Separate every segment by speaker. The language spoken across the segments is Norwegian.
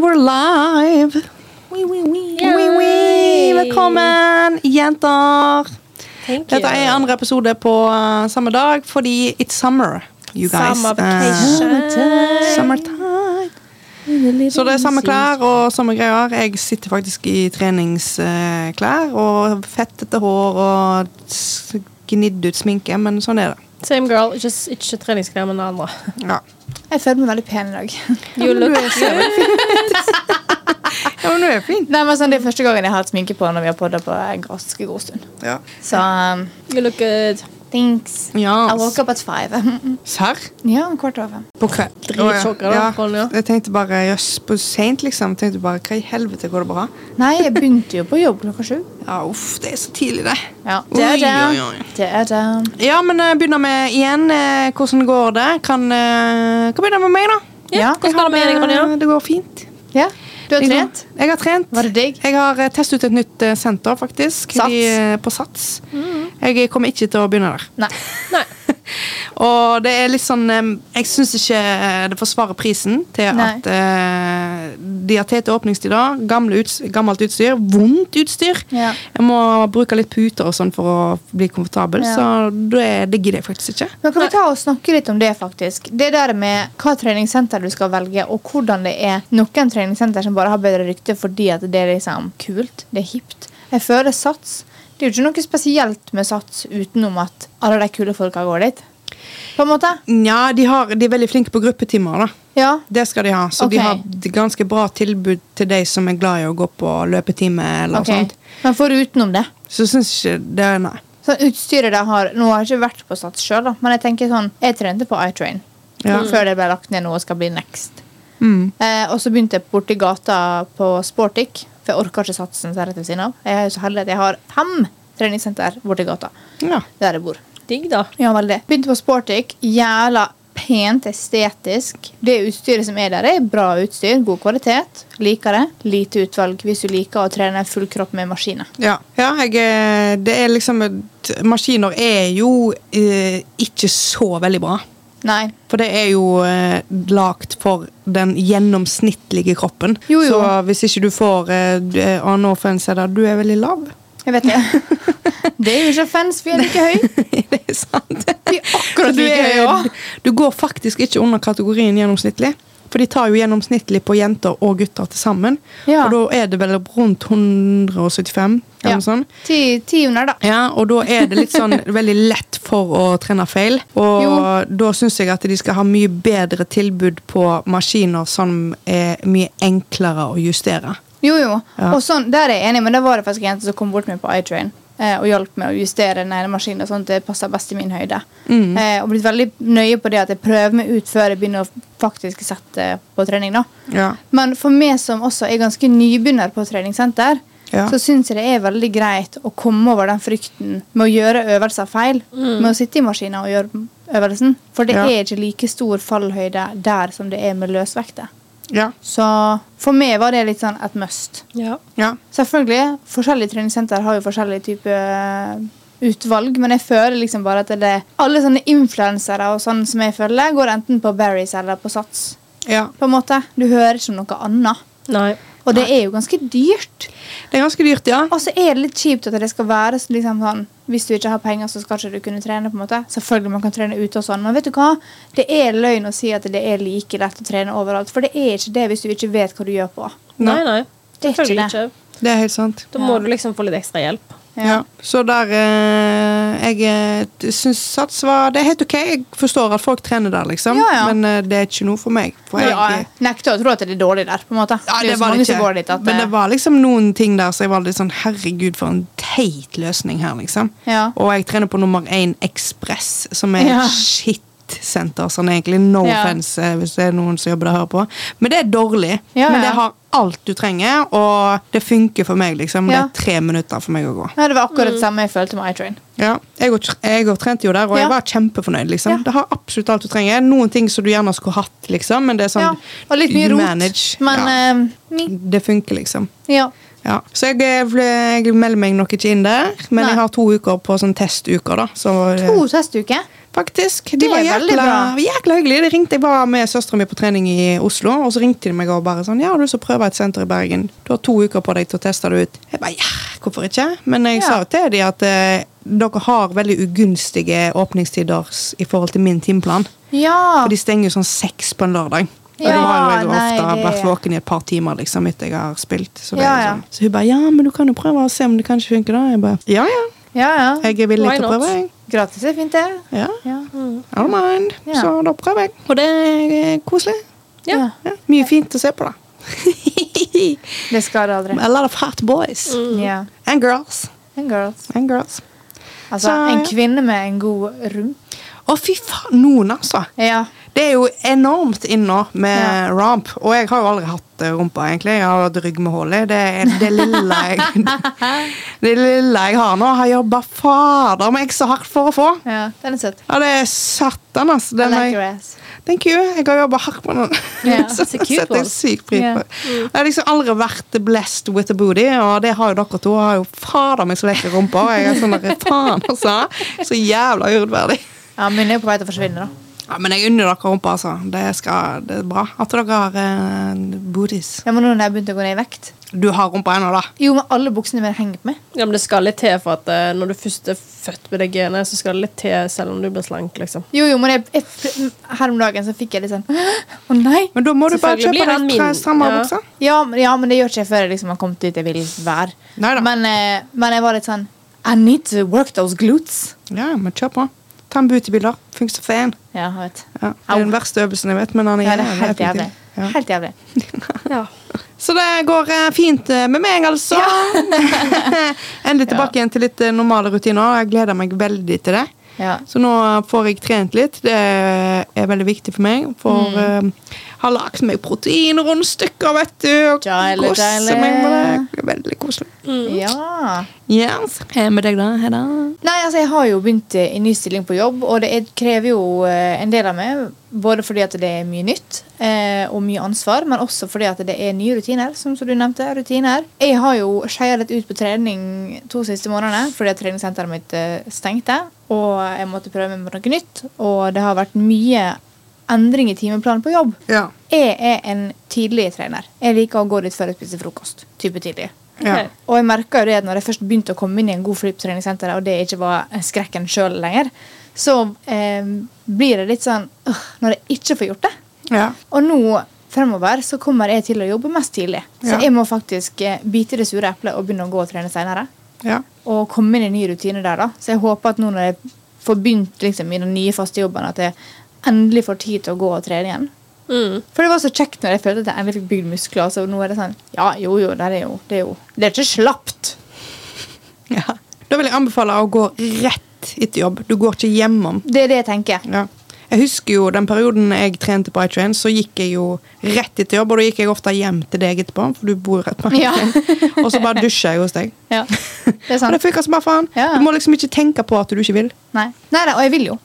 Speaker 1: we're live! Wee, wee, wee. Wee, wee. Velkommen, jenter!
Speaker 2: Thank
Speaker 1: Dette er andre episode på eh, samme dag fordi it's summer, you guys.
Speaker 2: Summer
Speaker 1: Eh,
Speaker 2: vacation.
Speaker 1: summertime. Så det er samme klær og samme greier. Jeg sitter faktisk i treningsklær og fettete hår og s- gnidd ut sminke, men sånn er det.
Speaker 2: Same girl, just ikke treningsklær, men det andre.
Speaker 1: Ja.
Speaker 3: Jeg føler meg veldig pen i dag.
Speaker 2: You look good.
Speaker 1: ja, men du er fin.
Speaker 3: Nei, men sånn, Det er første gangen jeg har hatt sminke på når vi har podda på en ganske god stund.
Speaker 1: Ja.
Speaker 3: Så um,
Speaker 2: You look uh, good.
Speaker 3: thanks. I woke up at five.
Speaker 1: Serr?
Speaker 3: ja, en kvart over.
Speaker 1: På kveld.
Speaker 2: Dritsjokka da, Ronja.
Speaker 1: Jeg tenkte bare jøss, på seint, liksom. Tenkte bare, Hva i helvete, går det bra?
Speaker 3: Nei, jeg begynte jo på jobb klokka sju.
Speaker 1: Ja, uff, det er så tidlig, det.
Speaker 3: Ja, det er det.
Speaker 1: Oi, oi, oi.
Speaker 3: Det er det.
Speaker 1: Ja, men eh, begynner med igjen. eh, Hvordan går det? Kan, eh, kan begynne med meg, da.
Speaker 3: Ja,
Speaker 2: Ja, Hvordan går det med deg, Ronja?
Speaker 1: Eh, Det går fint.
Speaker 3: Ja. Du har
Speaker 1: Jeg-
Speaker 3: trent?
Speaker 1: Jeg har trent.
Speaker 3: Var det digg?
Speaker 1: Jeg har eh, testet ut et nytt eh, senter, faktisk.
Speaker 3: Sats?
Speaker 1: De, eh, på Sats. Jeg kommer ikke til å begynne der.
Speaker 3: Nei.
Speaker 2: Nei.
Speaker 1: Og det er litt sånn eh, Jeg syns ikke eh, det forsvarer prisen til
Speaker 3: Nei.
Speaker 1: at eh, de har tete åpningstider, gamle uts gammelt utstyr, vondt utstyr.
Speaker 3: Ja.
Speaker 1: Jeg må bruke litt puter og sånn for å bli komfortabel,
Speaker 3: Ja.
Speaker 1: så det, det gidder jeg faktisk ikke.
Speaker 3: Men kan vi ta og snakke litt om det, faktisk? Det der med hva treningssenter du skal velge, og hvordan det er noen treningssenter som bare har bedre rykte fordi at det er liksom kult, det er hipt. Jeg føler Sats Det er jo ikke noe spesielt med Sats utenom at alle de kule folka går dit. På en måte.
Speaker 1: Nja, de, har, de er veldig flinke på gruppetimer, da.
Speaker 3: Ja.
Speaker 1: Det skal de ha. Så
Speaker 3: Ok.
Speaker 1: de har et ganske bra tilbud til de som er glad i å gå på løpetime eller
Speaker 3: ok.
Speaker 1: sånt.
Speaker 3: Men for utenom det.
Speaker 1: Så syns ikke det Nei.
Speaker 3: Sånn utstyret de har Nå har jeg ikke vært på Sats sjøl, da, men jeg tenker sånn Jeg trente på iTrain
Speaker 1: Ja.
Speaker 3: før det ble lagt ned nå og skal bli Next.
Speaker 1: Mm.
Speaker 3: Eh, og så begynte jeg borti gata på Sportic, for jeg orker ikke satsen som er rett ved siden av. Jeg er jo så heldig at jeg har fem treningssenter borti gata
Speaker 1: Ja.
Speaker 3: der jeg bor.
Speaker 2: Digg, da.
Speaker 3: Ja, veldig. Begynte på Sportic. Jævla pent estetisk. Det utstyret som er der, er bra utstyr. God kvalitet. Liker det. Lite utvalg hvis du liker å trene full kropp med maskiner.
Speaker 1: Ja, ja jeg, eh, det er liksom et- Maskiner er jo eh, ikke så veldig bra.
Speaker 3: Nei.
Speaker 1: For det er jo eh, lagt for den gjennomsnittlige kroppen.
Speaker 3: Jo, jo.
Speaker 1: Så hvis ikke du får eh, du er- «Å, no offense, da, du er veldig lav.
Speaker 3: Jeg vet ikke. det er jo ikke offense, vi er like høy.
Speaker 1: det er sant.
Speaker 3: Vi er akkurat
Speaker 1: du,
Speaker 3: like
Speaker 1: er-
Speaker 3: høye òg.
Speaker 1: du går faktisk ikke under kategorien gjennomsnittlig. For de tar jo gjennomsnittlig på jenter og gutter til sammen.
Speaker 3: Ja.
Speaker 1: Og da er det vel rundt 175. Eller
Speaker 3: Ja.
Speaker 1: noe sånt.
Speaker 3: Ti, ti under, da.
Speaker 1: Ja, og da er det litt sånn veldig lett for å trene feil. Og
Speaker 3: Jo.
Speaker 1: da syns jeg at de skal ha mye bedre tilbud på maskiner som er mye enklere å justere.
Speaker 3: Jo, jo.
Speaker 1: Ja.
Speaker 3: Og sånn, der er jeg enig, men det var det faktisk en jente som kom bort med på iTrain eh, og hjalp meg å justere den ene maskinen sånn at det passer best i min høyde.
Speaker 1: Mm.
Speaker 3: Eh, og blitt veldig nøye på det at jeg prøver meg ut før jeg begynner å faktisk sette eh, på trening. da.
Speaker 1: Ja.
Speaker 3: Men for meg som også er ganske nybegynner på treningssenter,
Speaker 1: Ja.
Speaker 3: så syns jeg det er veldig greit å komme over den frykten med å gjøre øvelser feil. Med å sitte i maskinen og gjøre øvelsen. For det
Speaker 1: Ja.
Speaker 3: er ikke like stor fallhøyde der som det er med løsvekter.
Speaker 1: Ja.
Speaker 3: Så for meg var det litt sånn et must.
Speaker 2: Ja.
Speaker 1: ja.
Speaker 3: Selvfølgelig. Forskjellige treningssenter har jo forskjellige typer utvalg, men jeg føler liksom bare at det er alle sånne influensere og sånn som jeg føler, går enten på Barry's eller på Sats.
Speaker 1: ja.
Speaker 3: På en måte. Du hører ikke om noe annet.
Speaker 2: Nei.
Speaker 3: Og det er jo ganske dyrt.
Speaker 1: Det er ganske dyrt, ja.
Speaker 3: Og så er det litt kjipt at det skal være så liksom sånn Hvis du ikke har penger, så skal ikke du kunne trene. på en måte Selvfølgelig man kan trene ute og sånn, men vet du hva? Det er løgn å si at det er like lett å trene overalt. For det er ikke det hvis du ikke vet hva du gjør på.
Speaker 2: Nei, nei.
Speaker 3: Det er ikke
Speaker 2: Selvfølgelig
Speaker 3: det.
Speaker 2: ikke.
Speaker 1: Det er helt sant.
Speaker 2: Da må du liksom få litt ekstra hjelp.
Speaker 1: Ja. Så der eh, Jeg eh, syns sats var Det er helt OK. Jeg forstår at folk trener der, liksom.
Speaker 3: Ja, ja.
Speaker 1: Men eh, det er ikke noe for meg. For
Speaker 3: ja,
Speaker 1: jeg,
Speaker 3: jeg nekter å tro at det er dårlig der. på en måte
Speaker 1: Ja,
Speaker 3: Det er jo
Speaker 1: var
Speaker 3: så mange
Speaker 1: ikke.
Speaker 3: som går dit at
Speaker 1: Men det var liksom noen ting der Så jeg var litt sånn Herregud, for en teit løsning her, liksom.
Speaker 3: Ja.
Speaker 1: Og jeg trener på nummer én Ekspress, som er
Speaker 3: Ja.
Speaker 1: et shitsenter, sånn egentlig. No
Speaker 3: Ja.
Speaker 1: offense eh, hvis det er noen som jobber der og hører på. Men det er dårlig.
Speaker 3: Ja,
Speaker 1: Men
Speaker 3: ja.
Speaker 1: det har alt du trenger, og det funker for meg, liksom.
Speaker 3: Ja.
Speaker 1: Det er tre minutter for meg å gå.
Speaker 3: Ja, det var
Speaker 1: Mm.
Speaker 3: akkurat det samme jeg følte med iTrain.
Speaker 1: Ja, jeg, og, jeg og trente jo der, og jeg
Speaker 3: Ja.
Speaker 1: var kjempefornøyd. liksom.
Speaker 3: Ja.
Speaker 1: Det har absolutt alt du trenger. Noen ting som du gjerne skulle hatt, liksom, men det er sånn
Speaker 3: Ja, og litt mye
Speaker 1: you
Speaker 3: rot.
Speaker 1: manage.
Speaker 3: Men
Speaker 1: ja.
Speaker 3: eh, mi-
Speaker 1: Det funker, liksom.
Speaker 3: ja.
Speaker 1: Ja. Så jeg, eh, ble- jeg melder meg nok ikke inn der, men
Speaker 3: Nei.
Speaker 1: jeg har to uker på sånn testuker. da. Så, eh,
Speaker 3: To testuker.
Speaker 1: Faktisk. De
Speaker 3: Det
Speaker 1: var
Speaker 3: er veldig
Speaker 1: jækla,
Speaker 3: bra.
Speaker 1: jækla hyggelige. De ringte, Jeg var med søstera mi på trening i Oslo, og så ringte de meg og bare sånn Ja, har du lyst til å prøve et senter i Bergen? Du har to uker på deg til å teste det ut. Jeg bare ja, hvorfor ikke? Men jeg
Speaker 3: Ja.
Speaker 1: sa jo til dem at eh, dere har veldig ugunstige åpningstider s- i forhold til min timeplan.
Speaker 3: Ja.
Speaker 1: For de stenger jo sånn seks på en lørdag. Og
Speaker 3: Ja,
Speaker 1: da har jo jeg
Speaker 3: nei,
Speaker 1: ofte
Speaker 3: det-
Speaker 1: vært våken i et par timer liksom, etter jeg har spilt. Så, det
Speaker 3: Ja,
Speaker 1: er
Speaker 3: ja.
Speaker 1: sånn. så hun bare 'ja, men du kan jo prøve og se om det kanskje funker', da. Jeg bare 'ja, ja,
Speaker 3: ja, ja.
Speaker 1: jeg er villig
Speaker 2: Why
Speaker 1: til å
Speaker 2: not?
Speaker 1: prøve', jeg.
Speaker 3: Gratis er fint, det.
Speaker 1: Ja.
Speaker 3: Ja.
Speaker 1: I don't mind.
Speaker 3: Ja.
Speaker 1: Så da prøver jeg. Og det er koselig.
Speaker 2: Ja.
Speaker 3: Ja.
Speaker 1: Ja. Mye fint å se på, da.
Speaker 3: Det skader aldri.
Speaker 1: A lot of hot boys.
Speaker 3: Ja.
Speaker 1: And girls.
Speaker 3: And girls.
Speaker 1: And girls.
Speaker 3: Altså,
Speaker 1: Så-
Speaker 3: en kvinne med en god rump.
Speaker 1: Å, fy faen! Noen, altså.
Speaker 3: Ja.
Speaker 1: Det er jo enormt inne med
Speaker 3: Ja.
Speaker 1: ramp. Og jeg har jo aldri hatt eh, rumpa, egentlig. Jeg har hatt rygg med hull i. Det, er det lille jeg Det lille jeg har nå, har jobba fader meg så hardt for å få.
Speaker 3: ja. Den er søt.
Speaker 1: Ja, det er satan, altså.
Speaker 3: I
Speaker 1: Den
Speaker 3: like
Speaker 1: er-
Speaker 3: your ass.
Speaker 1: Thank you. Jeg har jobba hardt med den.
Speaker 3: Ja,
Speaker 1: så
Speaker 2: så
Speaker 1: det
Speaker 2: cute
Speaker 1: setter
Speaker 2: one.
Speaker 1: jeg sykt pris
Speaker 3: Ja.
Speaker 1: på. Jeg har liksom aldri vært blessed with a booty, og det har jo dere to. Jeg har jo fader meg så lekre rumper. og Jeg er sånn der, faen altså. Så jævla urettferdig.
Speaker 3: Ja, min er jo på vei til å forsvinne, da.
Speaker 1: Ja, men jeg unner dere rumpa, altså. Det, skal, det er bra at dere har eh, booties.
Speaker 3: Ja, men nå når jeg begynte å gå ned i vekt
Speaker 1: Du har rumpa ennå, da.
Speaker 3: Jo, men alle buksene mine henger på meg.
Speaker 2: Ja, men det skal litt til for at eh, når du først er født med det genet, så skal det litt til selv om du blir slank, liksom.
Speaker 3: Jo, jo, men jeg, jeg, her om dagen så fikk jeg litt sånn Å nei!
Speaker 1: Men da må du bare
Speaker 2: Selvfølgelig blir
Speaker 1: kjøpe
Speaker 2: han
Speaker 1: deg tre
Speaker 2: min.
Speaker 1: strammere
Speaker 2: Ja.
Speaker 1: bukser.
Speaker 3: Ja, men- ja, men det gjør ikke jeg før jeg liksom har kommet dit jeg vil være.
Speaker 1: Neida.
Speaker 3: Men, eh, men jeg var litt sånn I need to work those glutes.
Speaker 1: Ja, men kjør på. Ta en bootybilder. Funker som faen.
Speaker 3: Ja, jeg vet.
Speaker 1: Ja, det er den verste øvelsen jeg vet, men han er
Speaker 3: Ja, det er helt
Speaker 1: effektiv.
Speaker 3: jævlig.
Speaker 1: Ja.
Speaker 3: Helt jævlig.
Speaker 2: Ja.
Speaker 1: Så det går eh, fint eh, med meg, altså. Endelig tilbake igjen til litt eh, normale rutiner. Jeg gleder meg veldig til det.
Speaker 3: Ja.
Speaker 1: Så nå får jeg trent litt. Det er veldig viktig for meg. For eh, har lagd meg proteinrundstykker, vet du. Og
Speaker 3: Deilig, deilig.
Speaker 1: koser meg med det. det. er Veldig koselig.
Speaker 3: Mm. ja.
Speaker 1: Yes. Hva med deg, da, Hedda?
Speaker 3: Nei, altså jeg har jo begynt eh, i ny stilling på jobb, og det er, krever jo eh, en del av meg. Både fordi at det er mye nytt eh, og mye ansvar, men også fordi at det er nye rutiner. som, som du nevnte, rutiner. Jeg har jo skeia litt ut på trening to siste månedene fordi at treningssenteret mitt eh, stengte. Og jeg måtte prøve meg på noe nytt, og det har vært mye endring i timeplanen på jobb.
Speaker 1: Ja.
Speaker 3: Jeg er en tidlig trener. Jeg liker å gå litt før jeg spiser frokost. Type tidlig.
Speaker 1: ja.
Speaker 2: Ok.
Speaker 3: Og jeg merket jo det at når jeg først begynte å komme inn i en god flyt på treningssenteret, og det ikke var skrekken sjøl lenger, så eh, blir det litt sånn «Åh, Når jeg ikke får gjort det
Speaker 1: ja.
Speaker 3: Og nå fremover så kommer jeg til å jobbe mest tidlig. Så
Speaker 1: Ja.
Speaker 3: jeg må faktisk eh, bite i det sure eplet og begynne å gå og trene seinere.
Speaker 1: ja.
Speaker 3: Og komme inn i en ny rutine der, da. Så jeg håper at nå når jeg får begynt liksom, i den nye faste jobben, at jeg endelig får tid til å gå og trene igjen.
Speaker 2: Mm.
Speaker 3: For det var så kjekt når jeg følte at jeg endelig fikk bygd muskler. Så nå er det sånn Ja, jo, jo, det er jo Det er, jo. Det er ikke slapt.
Speaker 1: ja. Da vil jeg anbefale å gå rett etter jobb. Du går ikke hjemom.
Speaker 3: Det er det jeg tenker.
Speaker 1: Ja. Jeg husker jo den perioden jeg trente på iTrain, så gikk jeg jo rett etter jobb, og da gikk jeg ofte hjem til deg etterpå, for du bor rett på
Speaker 3: Ja.
Speaker 1: iTrain. Og så bare dusja jeg hos deg.
Speaker 3: Ja, det er
Speaker 1: Og det
Speaker 3: sant.
Speaker 1: funker som bare faen.
Speaker 3: Ja.
Speaker 1: Du må liksom ikke tenke på at du ikke vil.
Speaker 3: Nei. Nei, nei, og jeg vil jo.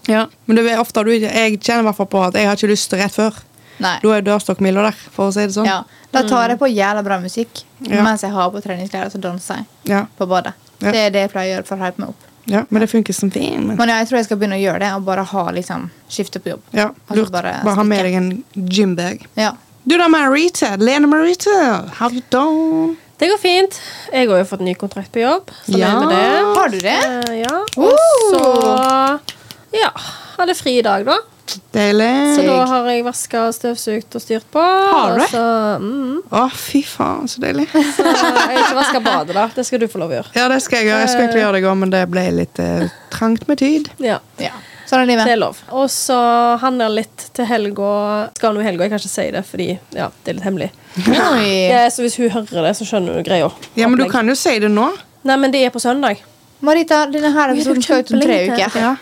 Speaker 1: Men det er ofte du, jeg kjenner i hvert fall på at jeg har ikke lyst til rett før.
Speaker 3: Nei.
Speaker 1: Da er dørstokkmila der, for å si det sånn.
Speaker 3: Ja. Da tar jeg på jævla bra musikk
Speaker 1: Ja.
Speaker 3: mens jeg har på treningsklær, og så danser jeg
Speaker 1: Ja,
Speaker 3: på badet.
Speaker 1: Ja.
Speaker 3: Det er det jeg pleier å gjøre for å hype meg opp.
Speaker 1: ja, Men det funker som fint. men-
Speaker 3: Men ja, jeg tror jeg skal begynne å gjøre det, og bare ha liksom skifte på jobb.
Speaker 1: Ja,
Speaker 3: Altså
Speaker 1: lurt.
Speaker 3: bare
Speaker 1: Bare, ha med
Speaker 3: stikke.
Speaker 1: deg en gymbag.
Speaker 3: Ja.
Speaker 1: Du da, Marita. Lene Marita. How you doing?
Speaker 2: Det går fint. Jeg har jo fått ny kontrakt på jobb. Så
Speaker 1: Ja.
Speaker 2: ja. med det.
Speaker 3: Har du det?
Speaker 2: Eh, ja. Og
Speaker 3: Woo!
Speaker 2: så ja, hadde fri i dag, da. Så
Speaker 1: Deilig.
Speaker 2: da
Speaker 3: Digg.
Speaker 2: har jeg vaska, støvsugd og styrt på.
Speaker 1: Har du
Speaker 2: og
Speaker 1: det?
Speaker 2: Så, mm,
Speaker 1: Å, fy faen, så deilig.
Speaker 2: så jeg har ikke vaska badet, da. Det skal du få lov å gjøre.
Speaker 1: Ja, det skal jeg gjøre. Jeg skulle egentlig gjøre det i går, men det ble litt eh, trangt med tid.
Speaker 2: Ja.
Speaker 3: Ja. Sånn er
Speaker 2: Det
Speaker 3: livet.
Speaker 2: er lov. Og så handler litt til helga. Skal nå i helga, jeg kan ikke si det fordi ja, det er litt hemmelig.
Speaker 3: Oi.
Speaker 2: Eh, så hvis hun hører det, så skjønner hun greia.
Speaker 1: Ja, men du
Speaker 2: Opplegg.
Speaker 1: kan jo si det nå.
Speaker 2: Nei, men det er på søndag.
Speaker 3: Marita, denne her episoden skal ut om tre
Speaker 2: Kjempelenge.
Speaker 3: uker.
Speaker 1: Ja.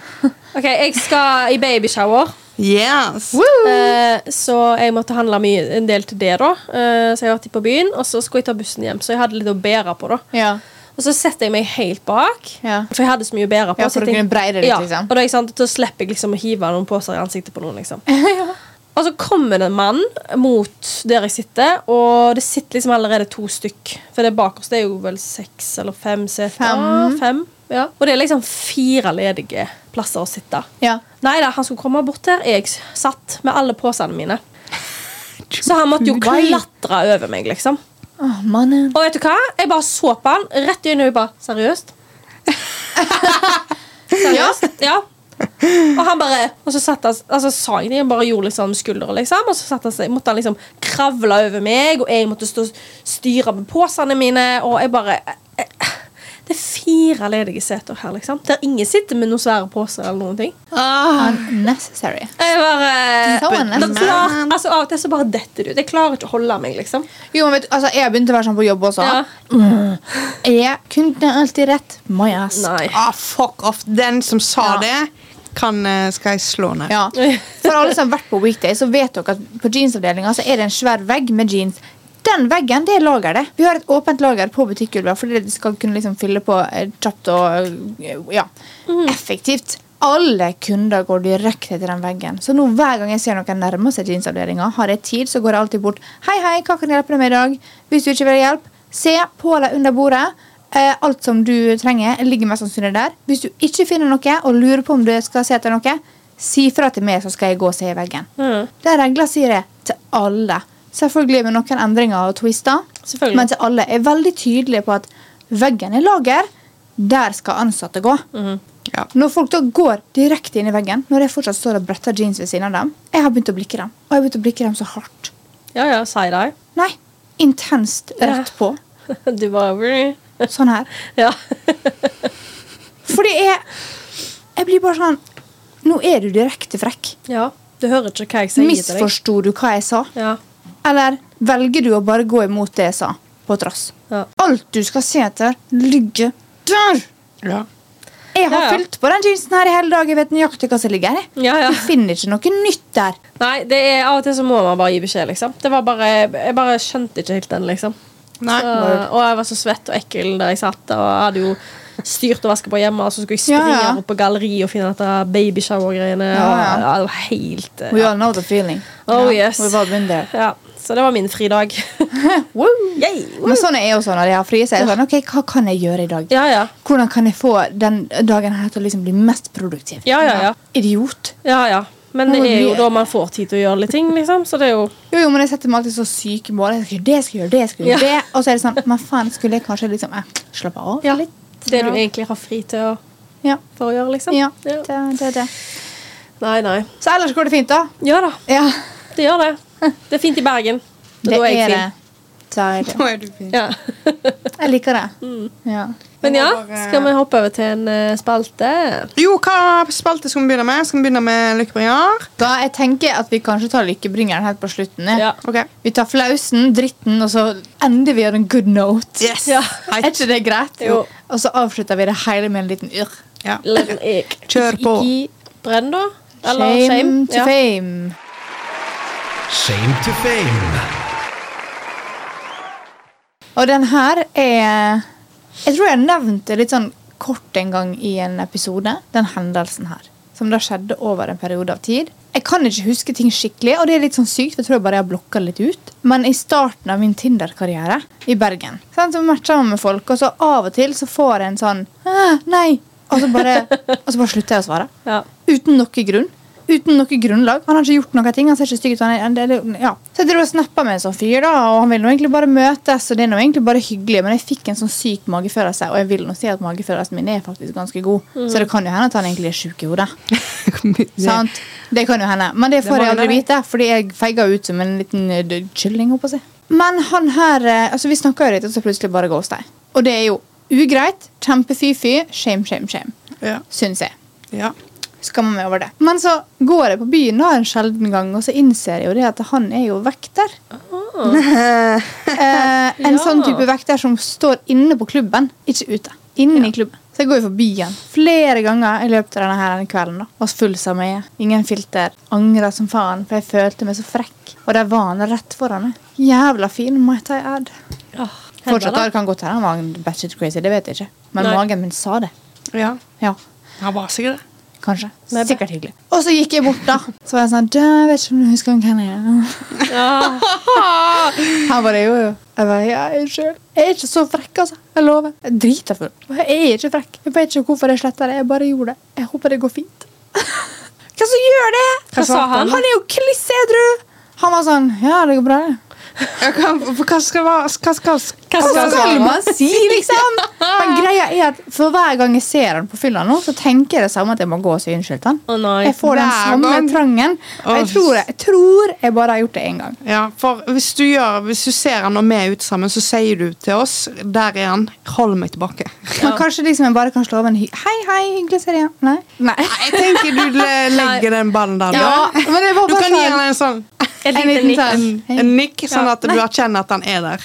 Speaker 2: OK, jeg skal i babyshower.
Speaker 1: Yes.
Speaker 2: Eh, så jeg måtte handle mye, en del til det, da. Eh, så jeg har vært på byen, og så skulle jeg ta bussen hjem. Så jeg hadde litt å bære på, da.
Speaker 3: Ja.
Speaker 2: Og så setter jeg meg helt bak.
Speaker 3: Ja.
Speaker 2: For jeg hadde så mye å bære på.
Speaker 3: Ja, for
Speaker 2: så jeg
Speaker 3: du kunne
Speaker 2: tenkte-
Speaker 3: breie det litt,
Speaker 2: ja.
Speaker 3: liksom.
Speaker 2: Og da, ikke sant, da slipper jeg liksom å hive noen poser i ansiktet på noen. liksom. Og så kommer det en mann mot der jeg sitter, og det sitter liksom allerede to stykk. For det bakerste er jo vel seks eller fem seter.
Speaker 3: Fem.
Speaker 2: Fem. Ja. Og det er liksom fire ledige plasser å sitte.
Speaker 3: Ja.
Speaker 2: Nei da, han skulle komme bort her. Jeg s- satt med alle posene mine. Så han måtte jo
Speaker 3: Why?
Speaker 2: klatre over meg, liksom.
Speaker 3: Åh, mannen.
Speaker 2: Og vet du hva? Jeg bare så på han rett i øynene og jeg bare Seriøst? Seriøst? Ja. Og han bare Og så satt han Altså sa jeg det, jeg bare gjorde liksom skuldra, liksom. Og så satt han seg, måtte han liksom kravle over meg, og jeg måtte stå og styre med posene mine, og jeg bare eh, eh, Det er fire ledige seter her, liksom. Der ingen sitter med noen svære poser eller noen ting.
Speaker 1: Ah.
Speaker 3: Unnecessary.
Speaker 2: Jeg
Speaker 3: Så
Speaker 2: bare da
Speaker 3: unnecessary.
Speaker 2: klar, altså Av og til så bare detter det ut. Jeg klarer ikke å holde meg, liksom.
Speaker 3: Jo, men vet du, altså, jeg har begynt å være sånn på jobb også.
Speaker 2: Ja.
Speaker 3: Jeg kunne alltid rett. My ass.
Speaker 2: Nei.
Speaker 1: Ah, fuck off! Den som sa
Speaker 3: Ja.
Speaker 1: det, kan, eh, skal jeg slå ned.
Speaker 3: Ja. For alle som har vært på weekday, så vet dere at på jeansavdelinga så er det en svær vegg med jeans. Den veggen, det er lageret. Vi har et åpent lager på butikkgulvet fordi det skal kunne liksom fylle på eh, kjapt og eh, ja, effektivt. Alle kunder går direkte til den veggen. Så nå hver gang jeg ser noen nærme seg jeansavdelinga, har jeg tid, så går jeg alltid bort. Hei, hei, hva kan jeg hjelpe deg med i dag? Hvis du ikke vil ha hjelp, se på deg under bordet. Eh, alt som du trenger, ligger mest sannsynlig der. Hvis du ikke finner noe og lurer på om du skal se etter noe, si fra til meg, så skal jeg gå og se i veggen.
Speaker 2: Mm.
Speaker 3: Det er regler, sier jeg til alle. Selvfølgelig med noen endringer og twister,
Speaker 2: Selvfølgelig.
Speaker 3: men til alle er veldig tydelige på at veggen er lager. Der skal ansatte gå.
Speaker 2: mm.
Speaker 1: Ja.
Speaker 3: Når folk da går direkte inn i veggen, når jeg fortsatt står og bretter jeans ved siden av dem, jeg har begynt å blikke dem. Og jeg har begynt å blikke dem så hardt.
Speaker 2: Ja, ja, si det.
Speaker 3: Nei, intenst rett på.
Speaker 2: Du bare
Speaker 3: Sånn her.
Speaker 2: Ja.
Speaker 3: Fordi jeg Jeg blir bare sånn Nå er du direkte frekk.
Speaker 2: ja. Du hører ikke hva jeg sier til deg.
Speaker 3: Misforsto du hva jeg sa?
Speaker 2: Ja.
Speaker 3: Eller velger du å bare gå imot det jeg sa, på trass?
Speaker 2: Ja.
Speaker 3: Alt du skal se etter, ligger der!
Speaker 1: Ja.
Speaker 2: Ja,
Speaker 3: Jeg har
Speaker 2: ja.
Speaker 3: fylt på den jeansen her i hele dag. Jeg vet nøyaktig hva som ligger her. jeg.
Speaker 2: Ja, ja.
Speaker 3: Jeg finner ikke noe nytt der.
Speaker 2: Nei, det er, av og til så må man bare gi beskjed, liksom. Det var bare, jeg bare skjønte ikke helt den, liksom.
Speaker 1: Nei.
Speaker 2: Så, og jeg var så svett og ekkel der jeg satt, og jeg hadde jo styrt og vasket på hjemme, og så skulle jeg springe
Speaker 3: Ja, ja.
Speaker 2: opp på galleri og finne dette babyshower-greiene.
Speaker 3: Ja,
Speaker 2: og-
Speaker 3: ja.
Speaker 2: Ja, det var helt eh,
Speaker 3: We all know the feeling.
Speaker 2: Oh,
Speaker 3: Ja,
Speaker 2: yes.
Speaker 3: We've all been there.
Speaker 2: ja. Så det var min fridag.
Speaker 3: Woo!
Speaker 2: Yay!
Speaker 3: Men sånn er jeg også når jeg har fri. Så er jeg sånn, ok, Hva kan jeg gjøre i dag?
Speaker 2: Ja, ja.
Speaker 3: Hvordan kan jeg få den dagen her til å liksom bli mest produktiv?
Speaker 2: Ja, ja, ja.
Speaker 3: Idiot.
Speaker 2: ja, ja. Men det er jo da man får tid til å gjøre litt ting, liksom. Så det er jo
Speaker 3: Jo, jo, men jeg setter meg alltid så syke mål. Jeg skal gjøre det, jeg skal gjøre det, jeg skal gjøre
Speaker 2: Ja.
Speaker 3: det. Og så er det sånn, men faen, skulle jeg kanskje liksom eh, slappe av?
Speaker 2: ja, det du egentlig har fri til å,
Speaker 3: Ja.
Speaker 2: for å gjøre, liksom.
Speaker 3: ja. Det, det, det.
Speaker 2: Nei, nei.
Speaker 3: Så ellers går det fint, da.
Speaker 2: Ja da,
Speaker 3: Ja,
Speaker 2: det gjør det. Det er fint i Bergen. Og
Speaker 3: det
Speaker 2: da er jeg
Speaker 3: er det.
Speaker 2: fin.
Speaker 3: Så er det.
Speaker 1: Nå er du fin.
Speaker 2: Ja.
Speaker 3: Jeg liker det.
Speaker 2: Mm.
Speaker 3: Ja.
Speaker 2: Men ja,
Speaker 1: Jeg må bare-
Speaker 2: skal vi hoppe over til en eh, spalte?
Speaker 1: Jo, hva spalte skal vi begynne med? Skal vi begynne med Lykkebringar?
Speaker 3: Da jeg tenker at vi kanskje tar lykkebringeren helt på slutten. jeg.
Speaker 2: Ja.
Speaker 1: Ok.
Speaker 3: Vi tar flausen, dritten, og så ender vi on a good note.
Speaker 1: Yes!
Speaker 2: Ja.
Speaker 3: Er ikke det greit?
Speaker 2: Jo.
Speaker 3: Og så avslutter vi det hele med en liten urr.
Speaker 1: Ja.
Speaker 2: Lenn Eik.
Speaker 1: Kjør på.
Speaker 3: Ikke
Speaker 2: Brenn, da? Eller
Speaker 3: shame,
Speaker 2: shame?
Speaker 3: to fame.
Speaker 4: Shame to fame.
Speaker 3: Og den her er Jeg tror jeg nevnte litt sånn kort en gang i en episode, den hendelsen her. Som da skjedde over en periode av tid. Jeg kan ikke huske ting skikkelig, og det er litt sånn sykt. for Jeg tror jeg bare jeg har blokka litt ut. Men i starten av min Tinder-karriere i Bergen sant, så matcha man med folk, og så av og til så får jeg en sånn «Åh, Nei! Og så bare, og så bare slutter jeg å svare.
Speaker 2: Ja.
Speaker 3: Uten noe grunn. Uten noe grunnlag. Han har ikke gjort noen ting. han ser ikke stygg ut. han er- han- det- det- Ja. Så jeg dro og snappa med en sånn fyr, da, og han ville nå egentlig bare møtes. og det er nå egentlig bare hyggelig, Men jeg fikk en sånn syk magefølelse, og jeg vil nå si at magefølelsen min er faktisk ganske god. Så det kan jo hende at han egentlig er sjuk i hodet. Sant? Det kan jo hende. Men det får
Speaker 1: Det må
Speaker 3: jeg aldri
Speaker 1: hende.
Speaker 3: vite, fordi jeg feiga ut som en liten eh, d- kylling. holdt på å si. Men han her eh, altså Vi snakka jo litt, og så plutselig bare ghosta jeg. Og det er jo ugreit. Kjempefy-fy. Shame, shame, shame.
Speaker 1: Ja.
Speaker 3: Syns jeg
Speaker 1: ja.
Speaker 3: skammer meg over det. Men så går jeg på byen da en sjelden gang, og så innser jeg jo det at han er jo vekter. Eh, en
Speaker 2: Ah. Ja.
Speaker 3: sånn type vekter som står inne på klubben, ikke ute. Inne i klubben. Så jeg går jo forbi han flere ganger i løpet av denne, her, denne kvelden. da. Var full som jeg er. Ingen filter. Angra som faen, for jeg følte meg så frekk. Og der var han rett foran meg. Jævla fin, might I add.
Speaker 2: Åh, hender
Speaker 3: Fortsatt,
Speaker 2: det.
Speaker 3: det kan godt hende han var en batshit crazy, det vet jeg ikke. Men
Speaker 2: Nei.
Speaker 3: magen min sa det.
Speaker 1: ja.
Speaker 3: Ja.
Speaker 1: Han var sikkert det.
Speaker 3: Kanskje.
Speaker 2: Nei,
Speaker 3: Sikkert hyggelig. Og så gikk jeg bort, da. Så var jeg sånn «Dæ, Jeg vet ikke om du husker hvem jeg er.
Speaker 2: Ja.
Speaker 3: Han bare jo, jo. Jeg bare, ja, unnskyld. Jeg er ikke så frekk, altså. Jeg lover. Jeg er drita full. Jeg er ikke frekk. Jeg vet ikke hvorfor jeg sletta det. Jeg bare gjorde det. Jeg håper det går fint. Hva som gjør det?
Speaker 2: Hva sa
Speaker 3: svarte
Speaker 2: han?
Speaker 3: Han er jo kliss edru! Han var sånn Ja, det går bra, det.
Speaker 1: Ja, hva, for hva skal hva, hva skal,
Speaker 2: Hva
Speaker 3: Hva
Speaker 2: skal
Speaker 3: skal
Speaker 2: han
Speaker 3: man si, liksom? Men greia er at for hver gang jeg ser han på fylla nå, så tenker jeg det samme at jeg må gå og si unnskyld til han.
Speaker 2: Å nei.
Speaker 3: Jeg får den
Speaker 1: Hver
Speaker 3: samme
Speaker 1: gang?
Speaker 3: trangen. Og jeg
Speaker 1: Åh.
Speaker 3: tror jeg, jeg tror jeg bare har gjort det én gang.
Speaker 1: Ja, for hvis du, gjør, hvis du ser han når vi er ute sammen, så sier du til oss Der er han, hold meg tilbake.
Speaker 3: Men kanskje liksom jeg bare kan slå av en hy Hei, hei, hyggelig å se deg igjen. Nei.
Speaker 1: Jeg tenker du le- legger den ballen der.
Speaker 3: Ja,
Speaker 1: du.
Speaker 3: men det var
Speaker 1: Du
Speaker 3: bare
Speaker 1: kan gi
Speaker 3: sånn
Speaker 1: han en sånn
Speaker 2: Et
Speaker 3: En
Speaker 2: lite
Speaker 3: liten
Speaker 2: nikk.
Speaker 3: tann. Hei.
Speaker 1: en nikk, sånn
Speaker 3: Ja,
Speaker 1: at du
Speaker 3: nei.
Speaker 1: erkjenner at han er der.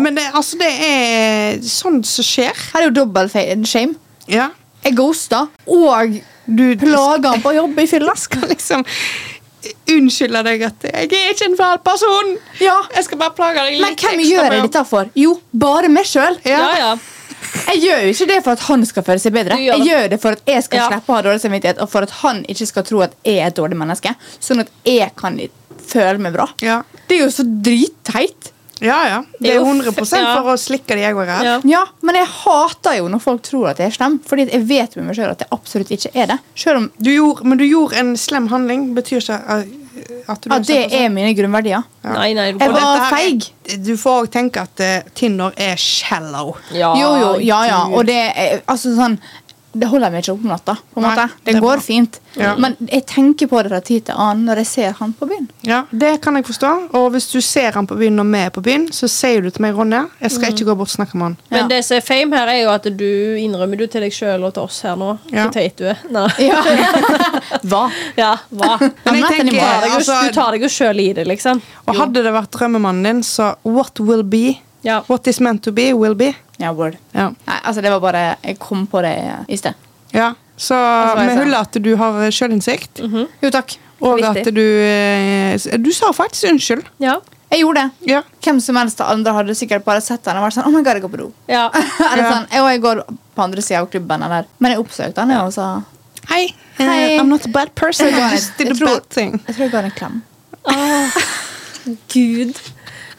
Speaker 1: Men det, altså, det er sånt som skjer.
Speaker 3: Her er jo dobbel fe- shame.
Speaker 1: Ja.
Speaker 3: Jeg ghosta og
Speaker 1: Du
Speaker 3: plager han på jobb i fylla.
Speaker 1: skal liksom unnskylde deg at 'jeg er ikke en fæl person'.
Speaker 3: Ja.
Speaker 1: Jeg skal bare plage deg litt
Speaker 3: Men hvem gjør jeg
Speaker 1: med-
Speaker 3: dette for? Jo, bare meg sjøl.
Speaker 1: Ja.
Speaker 2: Ja, ja.
Speaker 3: Jeg gjør jo ikke det for at han skal føle seg bedre.
Speaker 2: Du gjør det.
Speaker 3: Jeg gjør det for at jeg skal
Speaker 2: Ja.
Speaker 3: slippe å ha dårlig samvittighet, og for at han ikke skal tro at jeg er et dårlig menneske. Sånn at jeg kan føle meg bra.
Speaker 1: Ja.
Speaker 3: Det er jo så dritteit.
Speaker 1: ja, ja. Det er
Speaker 2: er jo f-
Speaker 1: 100
Speaker 2: ja.
Speaker 1: for å slikke det jeg går her.
Speaker 2: Ja.
Speaker 3: Ja, men jeg hater jo når folk tror at jeg er slem, Fordi jeg vet med meg sjøl at jeg absolutt ikke er det. Selv om
Speaker 1: Du gjorde, men du gjorde en slem handling. Betyr ikke at at du
Speaker 3: at det er mine grunnverdier.
Speaker 2: Nei, nei. Du
Speaker 3: Jeg
Speaker 1: Og
Speaker 2: bare,
Speaker 3: var-
Speaker 1: dette her er- Du får òg tenke at eh, Tinder er shallow.
Speaker 2: ja.
Speaker 3: Jo, jo, ja, ja. Og det er altså sånn Det holder meg ikke opp om natta. på en
Speaker 1: Nei,
Speaker 3: måte. Det,
Speaker 1: det er bra.
Speaker 3: går fint.
Speaker 1: Ja.
Speaker 3: Men jeg tenker på det fra tid til annen når jeg ser han på byen.
Speaker 1: Ja, Det kan jeg forstå. Og hvis du ser han på byen når vi er på byen, så sier du til meg, Ronja, jeg
Speaker 3: Mhm.
Speaker 1: skal ikke gå bort og snakke med han.
Speaker 2: Men
Speaker 3: Ja.
Speaker 2: det som er fame her, er jo at du innrømmer du til deg sjøl og til oss her nå
Speaker 1: Ja.
Speaker 2: hvor teit du er. Nei.
Speaker 3: Ja. Hva?
Speaker 2: Ja, hva?
Speaker 1: Men jeg
Speaker 3: Annet enn i
Speaker 1: tenker,
Speaker 3: baren.
Speaker 2: Du, du
Speaker 1: altså,
Speaker 2: tar deg jo sjøl i det, liksom.
Speaker 1: og hadde det vært drømmemannen din, så what will be?
Speaker 2: Ja.
Speaker 1: What is meant to be, will be.
Speaker 3: Ja, word.
Speaker 1: Ja.
Speaker 3: Nei, altså det var bare Jeg kom på det i sted.
Speaker 1: ja. Så
Speaker 3: var jeg Mhm.
Speaker 1: vi
Speaker 3: sånn.
Speaker 1: hyller at du har eh, sjølinnsikt.
Speaker 3: Jo, takk.
Speaker 1: Og
Speaker 3: Viktig.
Speaker 1: at du eh, s- Du sa faktisk unnskyld.
Speaker 2: Ja.
Speaker 3: Jeg gjorde det.
Speaker 1: Ja.
Speaker 3: Hvem som helst av andre hadde sikkert bare sett han og vært sånn Oh my god, jeg går på do.
Speaker 2: ja.
Speaker 3: Eller
Speaker 1: Ja.
Speaker 3: sånn, «Å, jeg går på andre siden av klubben eller Men jeg oppsøkte han, jeg, og sa
Speaker 1: Hei. eh,
Speaker 3: Hei.
Speaker 1: I'm not a bad person.
Speaker 3: Jeg
Speaker 1: I
Speaker 3: tror-
Speaker 1: just did
Speaker 3: jeg
Speaker 1: a
Speaker 3: tror-
Speaker 1: bad thing.
Speaker 3: Jeg tror jeg ga han en klem.
Speaker 2: Gud.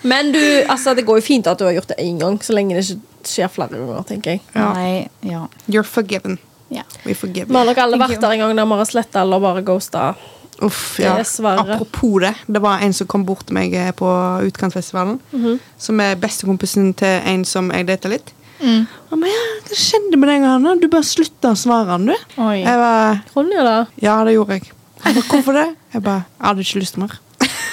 Speaker 2: Men du, altså, det går jo fint at du har gjort det én gang, så lenge det ikke skjer flere ganger. tenker jeg
Speaker 1: Ja.
Speaker 3: Nei, ja.
Speaker 1: You're forgiven.
Speaker 3: ja.
Speaker 1: We forgive
Speaker 2: Vi har
Speaker 1: you.
Speaker 2: nok alle
Speaker 3: Thank
Speaker 2: vært
Speaker 3: you.
Speaker 2: der en gang der vi har sletta eller bare ghosta.
Speaker 1: Uff, ja.
Speaker 2: Dessverre.
Speaker 1: Apropos det, det var en som kom bort til meg eh, på Utkantfestivalen.
Speaker 3: Mhm.
Speaker 1: Som er bestekompisen til en som jeg data litt.
Speaker 3: Mm.
Speaker 1: Han ba, ja, hva skjedde med deg, Hanna? Du bare slutta å svare han, du.
Speaker 3: Oi.
Speaker 1: Jeg ba,
Speaker 2: Ronja, da?
Speaker 1: ja, det gjorde jeg. Han ba, hvorfor det? Jeg ba, jeg hadde ikke lyst mer.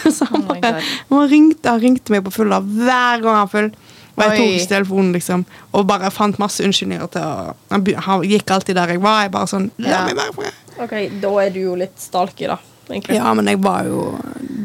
Speaker 1: Så han,
Speaker 3: Oh my
Speaker 1: bare-
Speaker 3: God.
Speaker 1: han, ringte, han ringte meg på fulla hver gang han full. Og jeg tok
Speaker 3: Oi.
Speaker 1: ikke telefonen, liksom. Og bare fant masse unnskyldninger til å Han be- Han gikk alltid der jeg var. Jeg bare sånn La
Speaker 3: Ja.
Speaker 1: meg være i fred.
Speaker 2: Ok, Da er du jo litt stalky, da. egentlig
Speaker 1: Ja, men jeg var jo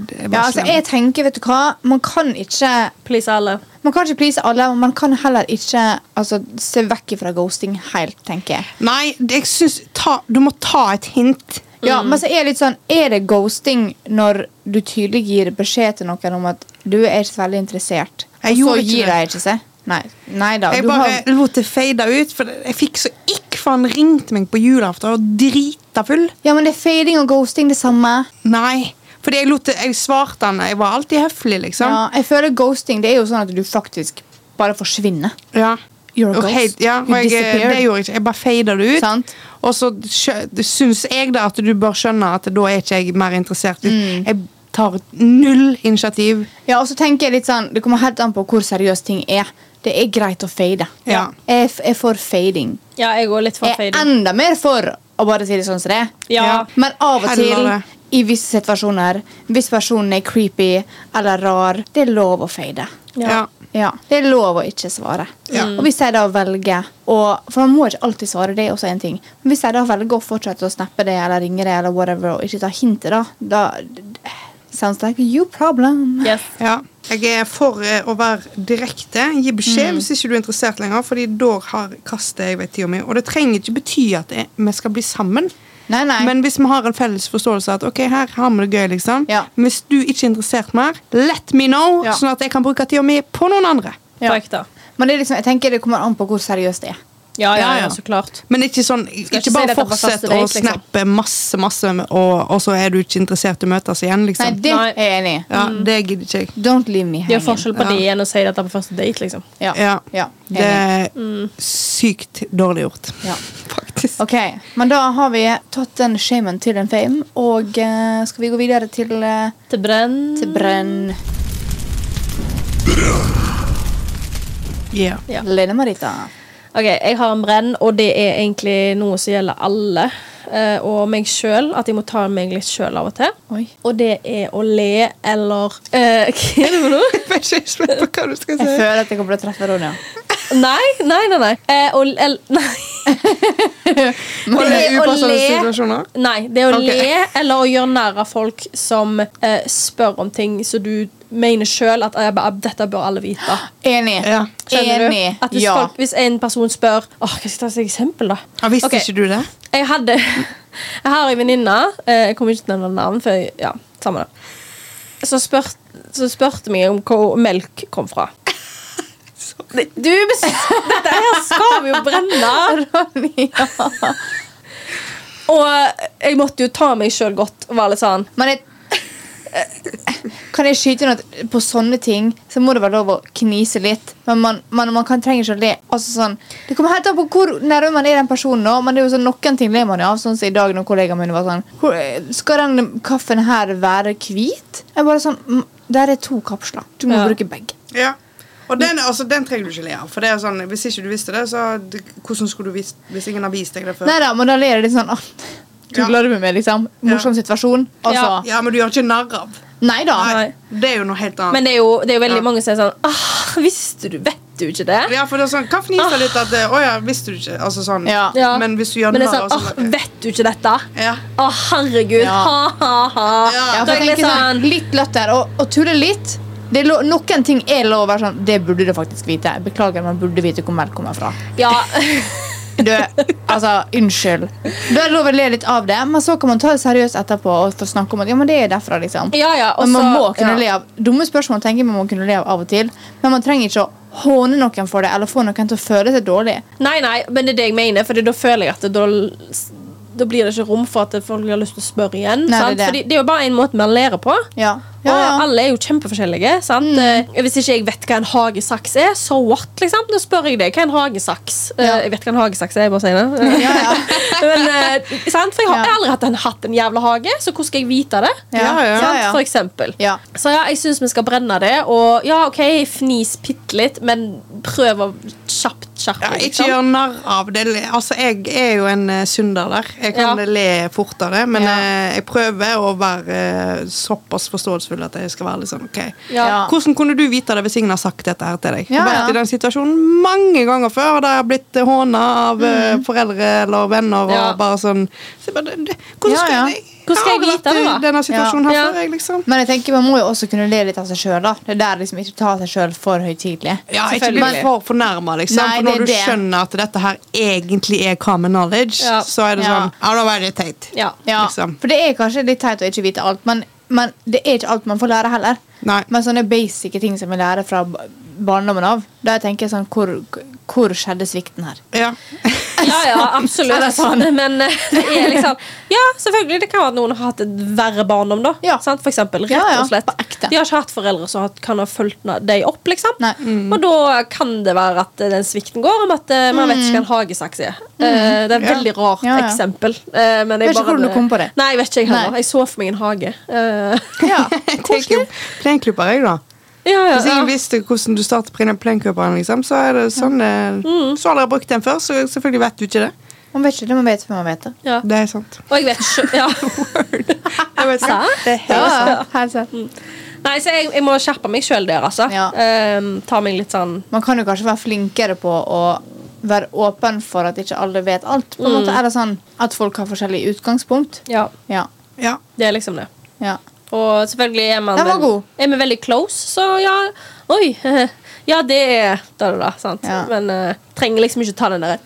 Speaker 1: jeg var
Speaker 3: Ja, altså
Speaker 1: slem.
Speaker 3: jeg tenker, vet du hva Man kan ikke
Speaker 2: Please alle.
Speaker 3: Man kan ikke please alle Og man kan heller ikke altså, Se vekk fra ghosting helt, tenker jeg
Speaker 1: Nei, det- jeg synes, ta, du må ta et hint.
Speaker 3: Ja, men så er det litt sånn Er det ghosting når du tydelig gir beskjed til noen Om at du er ikke så veldig interessert
Speaker 1: Jeg
Speaker 3: Og så
Speaker 1: gjorde ikke
Speaker 3: gir
Speaker 1: det.
Speaker 3: de ikke seg Nei, nei da
Speaker 1: Jeg
Speaker 3: du
Speaker 1: bare
Speaker 3: har,
Speaker 1: lot det fade ut, for jeg fikk så ikk, for han ringte meg på julaften og drita full.
Speaker 3: Ja, men det er fading og ghosting det samme
Speaker 1: Nei. Fordi jeg, lot det, jeg svarte han, jeg var alltid høflig, liksom.
Speaker 3: ja, Jeg føler ghosting, det er jo sånn at du faktisk Bare forsvinner
Speaker 1: Ja.
Speaker 3: You're a
Speaker 1: Og,
Speaker 3: ghost
Speaker 1: helt, ja, og
Speaker 3: You
Speaker 1: jeg, eh, det
Speaker 3: disappeared
Speaker 1: gjorde jeg ikke. Jeg bare fada det ut.
Speaker 3: Sant.
Speaker 1: Og så skjø- syns jeg da at du bør skjønne at da er ikke jeg mer interessert.
Speaker 3: Mm.
Speaker 1: Jeg tar null initiativ.
Speaker 3: Ja, og så tenker jeg litt sånn Det kommer helt an på hvor seriøst ting er. Det er greit å fade.
Speaker 1: Ja.
Speaker 3: Jeg f- er for fading.
Speaker 2: Ja, jeg går litt for
Speaker 3: Jeg er
Speaker 2: fading.
Speaker 3: enda mer for å bare si det sånn som det er.
Speaker 2: Ja.
Speaker 3: Men av og
Speaker 1: Heller det.
Speaker 3: til, i visse situasjoner, hvis personen er creepy eller rar, det er lov å fade.
Speaker 2: Ja.
Speaker 1: Ja.
Speaker 3: Ja, Det er lov å ikke svare.
Speaker 1: Ja.
Speaker 3: Og hvis jeg da velger å For man må ikke alltid svare, det er også en ting. Men hvis jeg da velger å fortsette å snappe det eller ringe det eller whatever, og ikke ta hintet, da, da Sounds like you problem.
Speaker 2: Yes.
Speaker 1: Ja. Jeg er for eh, å være direkte. Gi beskjed
Speaker 3: Mm.
Speaker 1: hvis ikke du er interessert lenger. Fordi da har kastet jeg vet tida mi. Og det trenger ikke bety at det- vi skal bli sammen.
Speaker 3: Nei, nei.
Speaker 1: Men hvis vi har en felles forståelse at ok, her har vi det gøy, liksom.
Speaker 3: Ja.
Speaker 1: Men hvis du ikke er interessert mer, let me know,
Speaker 3: Ja.
Speaker 1: sånn at jeg kan bruke tida mi på noen andre.
Speaker 3: Ja.
Speaker 2: På ekte.
Speaker 3: Men det er liksom, jeg tenker det kommer an på hvor seriøst det er.
Speaker 2: Ja, ja,
Speaker 1: Ja,
Speaker 2: ja,
Speaker 1: ja.
Speaker 2: så klart.
Speaker 1: Men ikke sånn,
Speaker 2: ikke
Speaker 1: ikke,
Speaker 2: si
Speaker 1: bare
Speaker 2: dette på
Speaker 1: fortsett å
Speaker 2: første date, liksom.
Speaker 1: snappe masse, masse, og, og så er du ikke interessert i å møtes igjen,
Speaker 3: Nei,
Speaker 1: liksom.
Speaker 3: det Mm.
Speaker 2: Nei.
Speaker 3: er jeg enig i.
Speaker 1: Ja, det gidder ikke jeg.
Speaker 3: Don't leave me
Speaker 2: Det er
Speaker 3: hanging.
Speaker 2: jo forskjell på det igjen å si dette på første date, liksom.
Speaker 3: Ja.
Speaker 1: Ja.
Speaker 3: Ja,
Speaker 1: Det
Speaker 3: enig. Mm.
Speaker 1: er sykt dårlig gjort,
Speaker 3: Ja.
Speaker 1: faktisk.
Speaker 3: Ok, men da har vi tatt den shamen til en fame, og eh, skal vi gå videre til, eh,
Speaker 2: Til brenn.
Speaker 3: til brønn.
Speaker 1: Ja.
Speaker 2: Ja.
Speaker 3: Lene Marita.
Speaker 2: Ok, jeg har en brenn, og det er egentlig noe som gjelder alle. eh, og meg sjøl. At jeg må ta meg litt sjøl av og til.
Speaker 3: Oi.
Speaker 2: Og det er å le eller eh, Hva er det for noe?
Speaker 1: Jeg er ikke spent på hva du skal
Speaker 3: Jeg
Speaker 1: si.
Speaker 3: føler at jeg kommer til å treffe Ronja.
Speaker 2: Nei, nei, nei. nei. Eh, å- el, nei.
Speaker 1: Var det
Speaker 2: Det å
Speaker 1: upassende
Speaker 2: le-
Speaker 1: situasjoner?
Speaker 2: Nei, det er å
Speaker 1: Ok.
Speaker 2: le eller å gjøre narr av folk som eh, spør om ting som du mener sjøl at eh, ba- dette bør alle vite.
Speaker 3: Enig.
Speaker 1: Ja.
Speaker 2: Skjønner
Speaker 3: Enig.
Speaker 2: du? At hvis,
Speaker 3: Ja.
Speaker 2: folk, hvis en person spør Åh, Hva skal jeg ta som eksempel, da?
Speaker 1: Ja, visste
Speaker 2: Ok.
Speaker 1: ikke du det?
Speaker 2: Jeg hadde Jeg har en venninne eh, Jeg kommer ikke til å nevne navn, for jeg, ja, samme det. Så spurte så spurte meg om hvor melk kom fra. Du, bes- dette her skal vi jo brenne!
Speaker 3: Ronja.
Speaker 2: Og jeg måtte jo ta meg sjøl godt. og Var litt sånn
Speaker 3: Men jeg eh, kan jeg skyte inn at på sånne ting så må det være lov å knise litt. Men man, man, man kan trenger ikke å le. Altså sånn, det kommer helt an på hvor nærme man er den personen. nå, Men det er jo sånn, noen ting ler man jo av. Sånn som i dag når kollegaen min var sånn hvor, Skal den kaffen her være hvit? Jeg bare sånn "Mm, Der er to kapsler. Du må
Speaker 2: Ja.
Speaker 3: bruke begge.
Speaker 1: Ja. Og den, altså, den trenger du ikke le av. For det er sånn, Hvis ikke du visste det, så det- hvordan skulle du visst Hvis ingen har vist deg det før?
Speaker 3: Nei da, men da ler jeg litt sånn ah, Du
Speaker 1: Ja.
Speaker 3: gleder meg med, liksom. Morsom situasjon.
Speaker 2: Ja.
Speaker 3: Altså,
Speaker 1: Ja, Men du gjør ikke narr av.
Speaker 3: nei da.
Speaker 1: Nei. Det er jo noe helt annet.
Speaker 2: Men det er jo, det er jo veldig
Speaker 1: Ja.
Speaker 2: mange som er sånn ah, Visste du, vet du ikke det?
Speaker 1: ja, for det er sånn, Hva fniser litt at eh, Å ja, visste du ikke? Altså sånn.
Speaker 3: Ja.
Speaker 2: Ah. Ja.
Speaker 1: Men hvis du gjør
Speaker 2: Men det er
Speaker 1: narr
Speaker 2: sånn,
Speaker 1: av
Speaker 2: ah,
Speaker 1: sånn
Speaker 2: vet du ikke dette?
Speaker 1: ja.
Speaker 2: Å, herregud,
Speaker 3: Ja.
Speaker 2: ha, ha, ha.
Speaker 3: Ja,
Speaker 1: Ja,
Speaker 2: Da
Speaker 3: for
Speaker 2: er
Speaker 3: jeg
Speaker 2: jeg litt
Speaker 3: tenker sånn,
Speaker 2: sånn
Speaker 3: litt latter og, og tulle litt. Det er lov, noen ting er lov å være sånn Det burde du faktisk vite. Beklager, man burde vite hvor melk kommer fra.
Speaker 2: sånn- Ja,
Speaker 3: Du, altså, unnskyld. Da er det lov å le litt av det, men så kan man ta det seriøst etterpå og få snakke om at ja, men det er derfra, liksom.
Speaker 2: ja, ja. og
Speaker 3: men man
Speaker 2: så-
Speaker 3: må
Speaker 2: ja.
Speaker 3: kunne le av Dumme spørsmål tenker jeg man må kunne le av av og til, men man trenger ikke å håne noen for det eller få noen til å føle seg dårlig.
Speaker 2: Nei, nei, men det er det jeg mener, for da føler jeg at det, da, da blir det ikke rom for at folk har lyst til å spørre igjen.
Speaker 3: Nei,
Speaker 2: sant?
Speaker 3: det er det.
Speaker 2: Fordi det er jo bare en måte vi lærer på.
Speaker 3: Ja, ja, Mm.
Speaker 2: Og
Speaker 3: ja.
Speaker 2: alle er jo kjempeforskjellige. sant? Eh, Hvis ikke jeg vet hva en hagesaks er, so what? liksom? Da spør jeg deg hva er en hagesaks Eh,
Speaker 3: Ja.
Speaker 2: Jeg vet hva en hagesaks er, jeg bare sier det.
Speaker 3: ja, ja.
Speaker 2: Men, eh, sant? For jeg har,
Speaker 3: Ja.
Speaker 2: jeg har aldri hatt en, hatt en jævla hage, så hvordan skal jeg vite det?
Speaker 1: Ja, ja.
Speaker 2: Sant?
Speaker 3: ja.
Speaker 2: For eksempel.
Speaker 3: ja.
Speaker 2: Så ja, jeg syns vi skal brenne det. Og ja, OK, fnis bitte litt, men prøv å kjapt skjerpe
Speaker 1: Ja,
Speaker 2: deg,
Speaker 1: ikke
Speaker 2: liksom.
Speaker 1: gjør narr av det. Altså, Jeg er jo en eh, synder der. Jeg kan
Speaker 2: Ja.
Speaker 1: le fort av det, men
Speaker 3: Ja.
Speaker 1: eh, jeg prøver å være eh, såpass forståelsesfull at jeg skal være litt sånn OK.
Speaker 2: Ja.
Speaker 3: Ja.
Speaker 1: Hvordan kunne du vite det hvis ingen har sagt dette her til deg? Jeg
Speaker 3: Ja,
Speaker 1: har vært
Speaker 3: ja.
Speaker 1: i den situasjonen mange ganger før der jeg har blitt eh, håna av eh, foreldre eller venner.
Speaker 2: Mm. Ja.
Speaker 1: og bare sånn så jeg bare, det- det- Hvordan
Speaker 3: Ja,
Speaker 1: skal
Speaker 3: ja.
Speaker 1: jeg,
Speaker 2: Hvordan skal jeg
Speaker 1: har aldri
Speaker 2: vite
Speaker 1: vært
Speaker 2: det,
Speaker 1: i
Speaker 2: da?
Speaker 1: denne situasjonen her
Speaker 2: Ja.
Speaker 1: før, jeg, liksom.
Speaker 3: Men jeg tenker man må jo også kunne le litt av seg sjøl. Det er der liksom ikke ta seg sjøl for høytidelig.
Speaker 1: Ja, ikke bli
Speaker 3: Selvfølgelig.
Speaker 1: for fornærma, liksom.
Speaker 3: Nei,
Speaker 1: for
Speaker 3: det er
Speaker 1: når du
Speaker 3: det.
Speaker 1: skjønner at dette her egentlig er common knowledge,
Speaker 2: Ja.
Speaker 1: så er det
Speaker 3: Ja.
Speaker 1: sånn Ja, da var det teit.
Speaker 2: Ja.
Speaker 3: Ja,
Speaker 1: Liksom.
Speaker 3: for det er kanskje litt teit å ikke vite alt, men, men det er ikke alt man får lære heller.
Speaker 1: Nei.
Speaker 3: Men sånne basic ting som vi lærer fra ba- barndommen av, der tenker jeg sånn Hvor, hvor skjedde svikten her?
Speaker 1: Ja.
Speaker 2: ja, ja, absolutt.
Speaker 3: Eller sånn.
Speaker 2: Men eh, det er liksom Ja, selvfølgelig. Det kan være at noen har hatt et verre barndom, da.
Speaker 3: Ja.
Speaker 2: Sant? For eksempel. Rett
Speaker 3: Ja, ja,
Speaker 2: og slett.
Speaker 3: på ekte.
Speaker 2: De har ikke hatt foreldre som har- kan ha fulgt na- dem opp, liksom.
Speaker 3: Nei.
Speaker 2: Og da kan det være at eh, den svikten går om at eh, man vet ikke hva en hagesaks er. Eh, det er et
Speaker 1: Ja.
Speaker 2: veldig rart
Speaker 3: Mm. Ja, ja.
Speaker 2: eksempel. Eh, men jeg
Speaker 3: Vet ikke
Speaker 2: bare-
Speaker 3: hvordan du kom på det.
Speaker 2: Nei, jeg vet ikke jeg heller.
Speaker 3: Nei.
Speaker 2: Jeg så for meg en hage. Eh,
Speaker 3: Ja,
Speaker 1: Koselig. Plenklipper, jeg, da.
Speaker 2: ja, ja,
Speaker 1: Hvis ingen
Speaker 2: ja.
Speaker 1: visste hvordan du starter plen- plenklipperen, liksom, så er det sånn eh, Så har dere brukt den før, så selvfølgelig vet du ikke det.
Speaker 3: Man vet ikke det man vet før man vet det.
Speaker 2: Ja.
Speaker 1: Det er sant.
Speaker 2: Og jeg vet ikke ja. Sant?
Speaker 3: Ja, helt sant.
Speaker 2: Mm. Nei, så jeg, jeg må skjerpe meg sjøl der, altså.
Speaker 3: Ja.
Speaker 2: Ehm, ta meg litt sånn
Speaker 3: Man kan jo kanskje være flinkere på å være åpen for at ikke alle vet alt. På en
Speaker 2: Mm.
Speaker 3: måte er det sånn at folk har forskjellig utgangspunkt.
Speaker 2: Ja,
Speaker 3: Ja,
Speaker 1: Ja.
Speaker 2: det er liksom det.
Speaker 3: ja.
Speaker 2: Og selvfølgelig er man
Speaker 3: Den var
Speaker 2: vel-
Speaker 3: god.
Speaker 2: Er vi veldig close, så ja Oi! Ja, det er da, da, da, sant?
Speaker 3: Ja.
Speaker 2: Men eh, trenger liksom ikke ta den derre